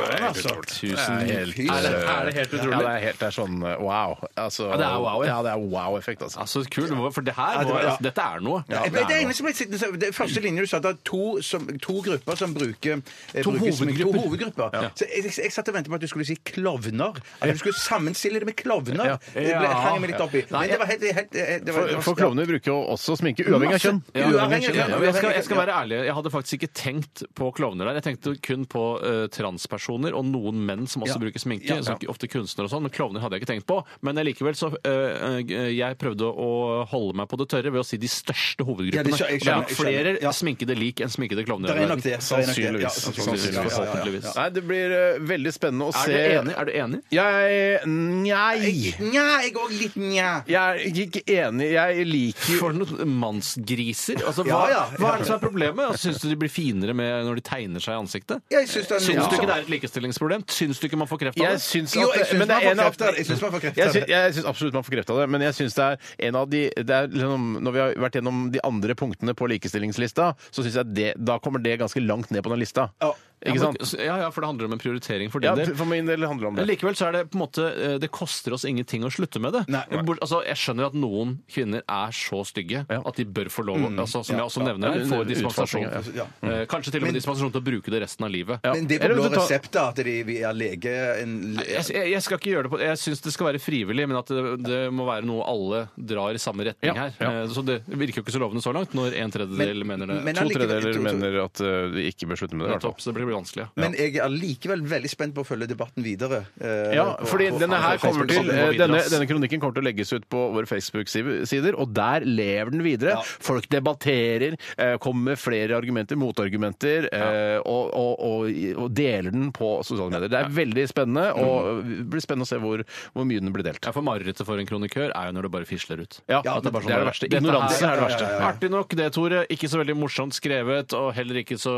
Tusen
Helt, eh,
Er det, er det helt
Ja,
utrolig?
det er helt det er sånn eh, wow. Altså,
Ja, det er wow, ja.
ja, det er wow-effekt, altså.
Altså, kult, for det her, var- altså, dette er noe.
Ja, det, det, eneste som jeg sitter, det første linje du sa, at det er to, som, to grupper som bruker eh,
To
bruker som-
hovedgrupper.
To hovedgrupper. Så jeg, jeg, jeg satt og ventet på at du skulle si klovner. At du skulle sammenstille det med klovner.
Ja.
Det ble, hang jeg meg litt opp i. Men det var helt, helt eh, det var,
For, for klovner bruker jo også sminke, uavhengig av kjønn.
Ja,
Uavhengig av
ja,
kjønn.
men jeg, skal, jeg skal være ærlig. Jeg hadde faktisk ikke tenkt på klovner der. Jeg tenkte kun på eh, transpersoner og noen menn som også bruker sminke. som ikke- ofte kunstnere og sånn, Men klovner hadde jeg ikke tenkt på. Men likevel så eh, eh, Jeg prøvde å holde meg på det tørre ved å si de største
Ja, det
hovedgruppene.
skjø- jeg
det
skjønner,
er
jeg
flere
skjønner. Ja.
sminkede lik enn sminkede klovner.
Det er nok det. det er nok det.
Sannsynligvis.
Ja,
Sannsynligvis.
Ja, ja, ja.
Forhåpentligvis.
Nei, det blir eh, veldig spennende å
Er
se
du enig? Er du enig?
Jeg Nei.
Nja, jeg òg litt nja.
Jeg er ikke enig. Jeg liker jo
For noen mannsgriser! Altså, hva,
Ja, ja, ja.
hva er det som er problemet? Syns du de blir finere med når de tegner seg i ansiktet?
Jeg syns det er
Syns
noe
du ikke
som-
det er et likestillingsproblem? Syns du ikke man får kreft av
jeg
det?
syns
Jo,
at
jeg syns
men det
man
er en
får
av-
kreft av det. Jeg syns man får kreft
Jeg
av det.
syns- Jeg syns absolutt man får kreft av det, men jeg syns det er en av de det er liksom, Når vi har vært gjennom de andre punktene på likestillingslista, så syns jeg det, da kommer det ganske langt ned på den lista.
Ja.
Ja,
Ikke
men-
sant?
Ja, ja, for det handler om en prioritering for din
Ja,
del.
for min del handler det om
Men
det.
likevel så er det på en måte eh, Det koster oss ingenting å slutte med det.
Nei, nei.
Bort- altså, jeg skjønner at noen kvinner er så stygge at de bør få lov altså, Som jeg også nevner her,
Mm. Ja,
få
en
dispensasjon.
utfasning,
ja.
Mm. Eh, Kanskje til og med dispensasjon til å bruke det resten av livet.
Men det er på
Eller
blå
du tar-
resept, da, at de via lege en,
Jeg, jeg, jeg skal ikke gjøre det på Jeg syns det skal være frivillig, men at det, det må være noe alle drar i samme retning her.
Ja, ja.
Eh, Så det virker jo ikke så lovende så langt, når en tredjedel mener det.
men
To
allikevel-
tredjedeler
to- to-
mener at eh, de ikke bør slutte med det. i hvert fall.
Nettopp, så det blir vanskelig. ja.
Men jeg er allikevel veldig spent på å følge debatten videre. eh,
Ja,
på-
fordi
på-
denne her
på
kommer til
Facebook.
eh, denne, denne kronikken kommer til å legges ut på våre Facebook-sider, og der lever den videre. Folk debatterer, eh, kommer med flere argumenter, motargumenter, eh, og, og, og, og deler den på sosiale medier. Det er veldig spennende, og det blir spennende å se hvor, hvor mye den blir delt.
Ja, for Marerittet for en kronikør er jo når det bare fisler ut.
Ja,
at det, er bare sånn
det er det
bare,
verste.
dette
Ignoransen
her-
er det verste.
Artig nok det, Tore. Ikke så veldig morsomt skrevet, og heller ikke så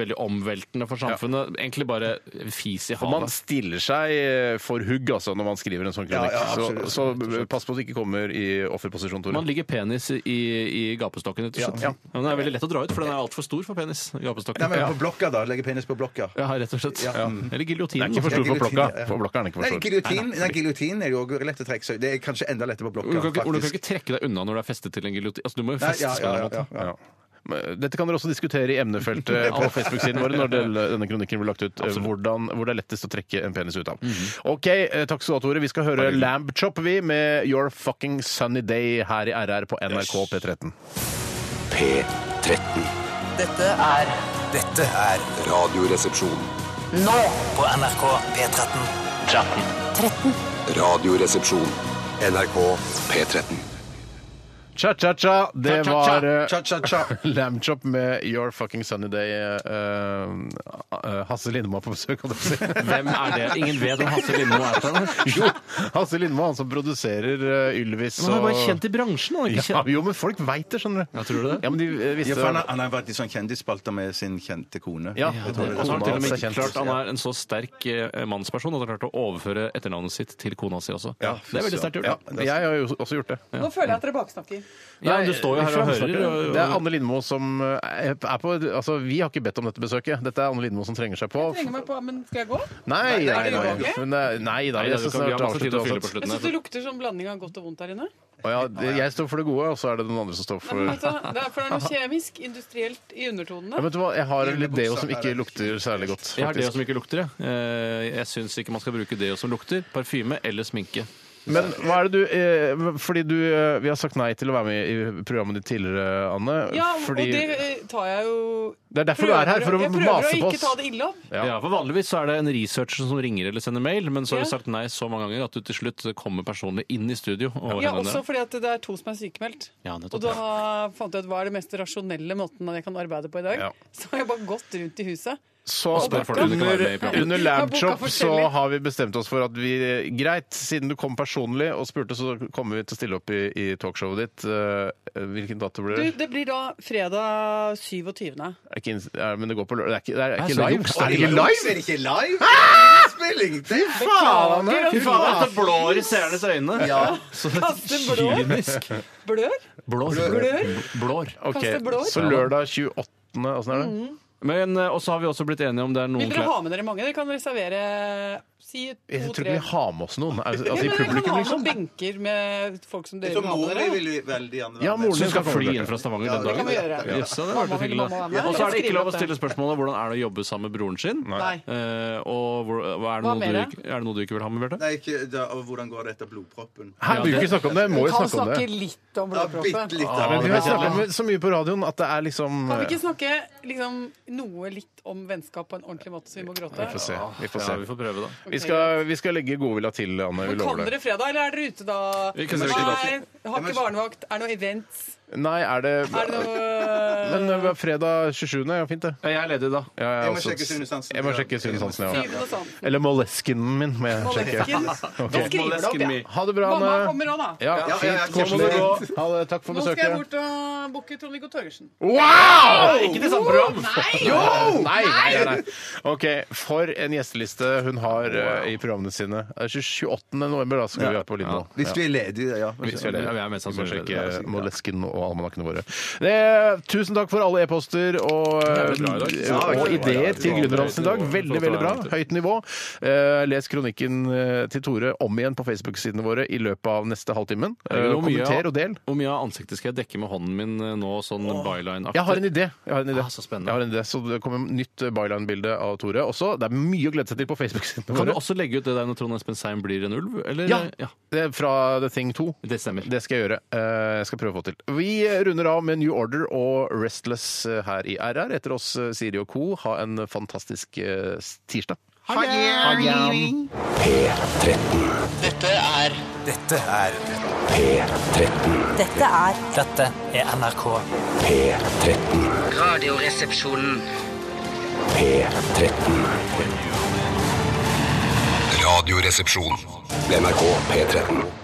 veldig omveltende for samfunnet. Egentlig bare fis i
Og man
havet.
stiller seg eh, for hugg altså, når man skriver en sånn kronikk.
Ja, ja, absolutt.
så, så pass på at du ikke kommer i offerposisjon, Tore.
Man ligger penis i, i gapestokken, rett og slett.
Ja.
Men den er veldig lett å dra ut, for den er altfor stor for penis.
Nei,
Gapestokken.
men
Ja. Mm.
på blokka, da. Legge penis på blokka.
ja, rett og slett.
Ja.
Eller
Den er
giljotinen.
ikke for stor på
Giljotin,
blokka.
ja.
På blokka er den ikke
Nei,
for stor.
giljotin, nei, giljotin er jo lett å trekke seg Det er kanskje enda lettere på blokka.
Du kan, ikke, du kan
faktisk.
ikke trekke deg unna når du er festet til en giljotin. Altså, du må jo
Nei,
festes
ja,
på en
ja,
eller
ja,
annen måte.
ja.
Ja. Men eh, Dette kan dere også diskutere i emnefeltet på Facebook-siden vår når del- denne kronikken blir lagt ut. eh, Hvordan, hvor det er lettest å trekke en penis ut av. Ok, eh, Takk skal du ha, Tore. Vi skal høre Lamb Chop vi med Your Fucking Sunny Day her i RR på NRK P13.
P13.
Dette er
Dette er Radioresepsjonen.
nå på NRK P13.
Radioresepsjon. NRK P13.
Cha-cha-cha, det
Cha-cha-cha.
var eh,
Cha-cha-cha.
Lamb Chop med Your Fucking Sunny Day. eh, eh, Hasse Lindmo er på besøk, holdt jeg på å si.
Hvem er det? Ingen vet om Hasse Lindmo er på den.
Jo, Hasse Lindmo, han som produserer eh, Ylvis
Men han er
og-
bare kjent i bransjen. Han er ikke
ja,
kjent.
Jo, men folk veit det, skjønner du.
Ja, tror du det?
Ja, men de eh,
Ja,
visste
for han, har- han har vært i sånn kjendisspalter med sin kjente kone.
Ja,
Jeg tror
Og
det
så har han til og med
Kona hans er
ikke
kjent.
klart Han er en så sterk eh, mannsperson at han har klart å overføre etternavnet sitt til kona si også.
Ja,
det er veldig sterkt gjort.
Ja, jeg har jo også gjort det.
Nå føler jeg at dere baksnakker.
Ja, men du står jo her og hører. og-
Det er Anne Lindmo som er på Altså, vi har ikke bedt om dette besøket. Dette er Anne Lindmo som trenger seg på.
Jeg trenger meg på, men skal jeg gå?
Nei, nei, nei.
ok.
Hun er- Nei
Nei,
da, jeg
da, du kan-
skal
vi har
snart
masse tid
avslutte
å fylle på
også.
Jeg
slutten
syns det
her.
lukter sånn blanding av godt og vondt her inne.
Å ja, det- Jeg står for det gode, og så er det den andre som står
Nei,
for
men
ja,
vet du, hva? Altså, det er, for det er noe kjemisk, industrielt, i undertonene.
Vet du hva, jeg har en Lideo som ikke lukter særlig godt.
Jeg har deo
faktisk.
som ikke lukter, jeg. Eh, Jeg syns ikke man skal bruke deo som lukter. Parfyme eller sminke.
Men hva er det du eh, Fordi du eh, Vi har sagt nei til å være med i programmet ditt tidligere, Anne.
Ja,
fordi,
og det eh, tar jeg jo
Det er derfor du er her, for å
Jeg prøver
mase
å
på
ikke
oss.
ta det ille opp.
Ja.
Ja. for Vanligvis så er det en researcher som ringer eller sender mail, men så har
Ja.
du sagt nei så mange ganger at du til slutt kommer personlig inn i studio. Og
Ja,
hender
også
det.
fordi at det er to som er sykemeldt.
Ja, nettopp,
og da fant jeg ut hva er det mest rasjonelle måten jeg kan arbeide på i dag.
Ja.
Så har jeg bare gått rundt i huset.
Så
Og spør folk om de kan være med i
under,
programmet.
under
Jeg har
Labchop
boka
så
forskjellig.
har vi bestemt oss for at vi eh, Greit, siden du kom personlig og spurte, så kommer vi til å stille opp i, i talkshowet ditt. Eh, Hvilken dato blir
Du,
det?
det blir da fredag 27.
Er ikke ins- er- men det går på lørdag. Det er ikke, det er,
Nei,
ikke
så
live.
juks.
Er det ikke live?
Er det ikke live? Innspilling! Det er faen!
Anne!
Fy faen, dette Altså, blår i seernes øyne!
Ja.
Så
Kaste blår.
kynisk.
Blør?
Blår.
Blør?
Blår.
Ok,
Kaste blår.
så lørdag 28. Åssen er det?
Men, eh, og så har vi også blitt enige om det er noen
Vil dere ha med dere mange? Dere kan reservere si
Jeg tror
to-tre.
ikke vi har med oss noen. Al- Altså
Ja,
i
men dere kan
publikum,
ha noen
liksom.
benker med folk som dere
Så
vil ha med
moren
dere.
vil veldig gjerne være
Ja,
med.
moren
Så
din
du skal
skal
fly
komme.
inn fra Stavanger
Ja,
den
det
kan
dagen?
vi gjøre.
Jøss, ja, det hadde vært
Mamma vil-
hyggelig,
mamma
da.
er med.
Og så er det ikke lov å
Jeg skriver
stille spørsmål om hvordan er det å jobbe sammen med broren sin.
Nei.
Eh, og hvor, hva er, det
Hva
noe
mer,
du,
da?
ikke- er det noe du ikke vil ha med, Bjarte?
Nei, ikke, da, og hvordan går det etter blodproppen?
Hæ, vi vil ikke snakke om det. Vi Må jo
Kan
snakke om
snakke
det.
litt om
Ja,
blodproppen.
bitte litt.
Ja,
da.
men vi har snakket om det så mye på radioen at det er liksom
Kan vi ikke snakke liksom, noe litt om vennskap på en ordentlig måte, så vi må gråte?
Vi får se. Vi får
Ja, vi
se.
får prøve, da.
Vi skal, vi skal legge godvilja til, Anne. Vi lover
Kommer
det.
dere fredag, eller er dere ute da?
Vi kan se hvilken
Nei, har ikke barnevakt. Er det noe events?
Nei, er det
Er det noe
Men det var fredag 27. Ja, fint, det.
Ja, Jeg er ledig, da.
Ja, jeg,
Jeg må
også-
sjekke Sune Sansen.
Jeg må sjekke Sune Sansen, ja.
syvende og sånn?
Eller moleskinen min. Må jeg sjekke.
Moleskin? Da skriver du opp, jeg.
Ha det bra,
Mamma
Anne.
kommer òg, da.
Ja,
Ja, ja, ja,
fint. Koselig.
koselig.
Ha det. Takk for
Nå skal jeg
besøket.
bort og booke Trond-Viggo Torgersen.
Wow!
Ikke sånn til samme program!
Nei, nei, nei. OK, for en gjesteliste hun har eh, i programmene sine. Det er 28. november, da, skal vi ha på Lindmo.
Hvis vi er ledige, ja.
Vi skal
Ja, vi er mest sannsynlig
sjekke
ledige.
Moleskine og og almanakkene våre. Det, tusen takk for alle e-poster og, eh,
Det ble bra i dag. Ja,
og
det ble bra.
ideer til Gründerdansen i dag. Veldig, veldig bra. Høyt nivå. Eh, Les kronikken eh, til Tore om igjen på Facebook-sidene våre i løpet av neste halvtimen. Eh,
Hvor mye-
Kommenter og del.
Hvor mye av ansiktet skal jeg dekke med hånden min eh, nå, sånn byline-aktig?
Jeg har en idé. Jeg har en idé.
Ah, så spennende.
Jeg har en idé. Så det kommer nytt byline-bilde av Tore også. Det er mye å glede seg til på Facebook-sidene
Kan du
våre.
også legge ut det der når Trond Espen Seim blir en ulv? Eller?
Ja. Eh, Det er fra The Thing 2.
Det stemmer.
Det skal jeg gjøre. Eh, Jeg skal prøve å få til. Vi runder av med New Order og Restless eh, her i RR. Etter oss eh, Siri og co. Ha en fantastisk eh, tirsdag.
Ha det!
P13.
Dette er
Dette er P13.
Dette er
Dette er NRK.
P13.
Radioresepsjonen.
P13. Radioresepsjon. NRK P13.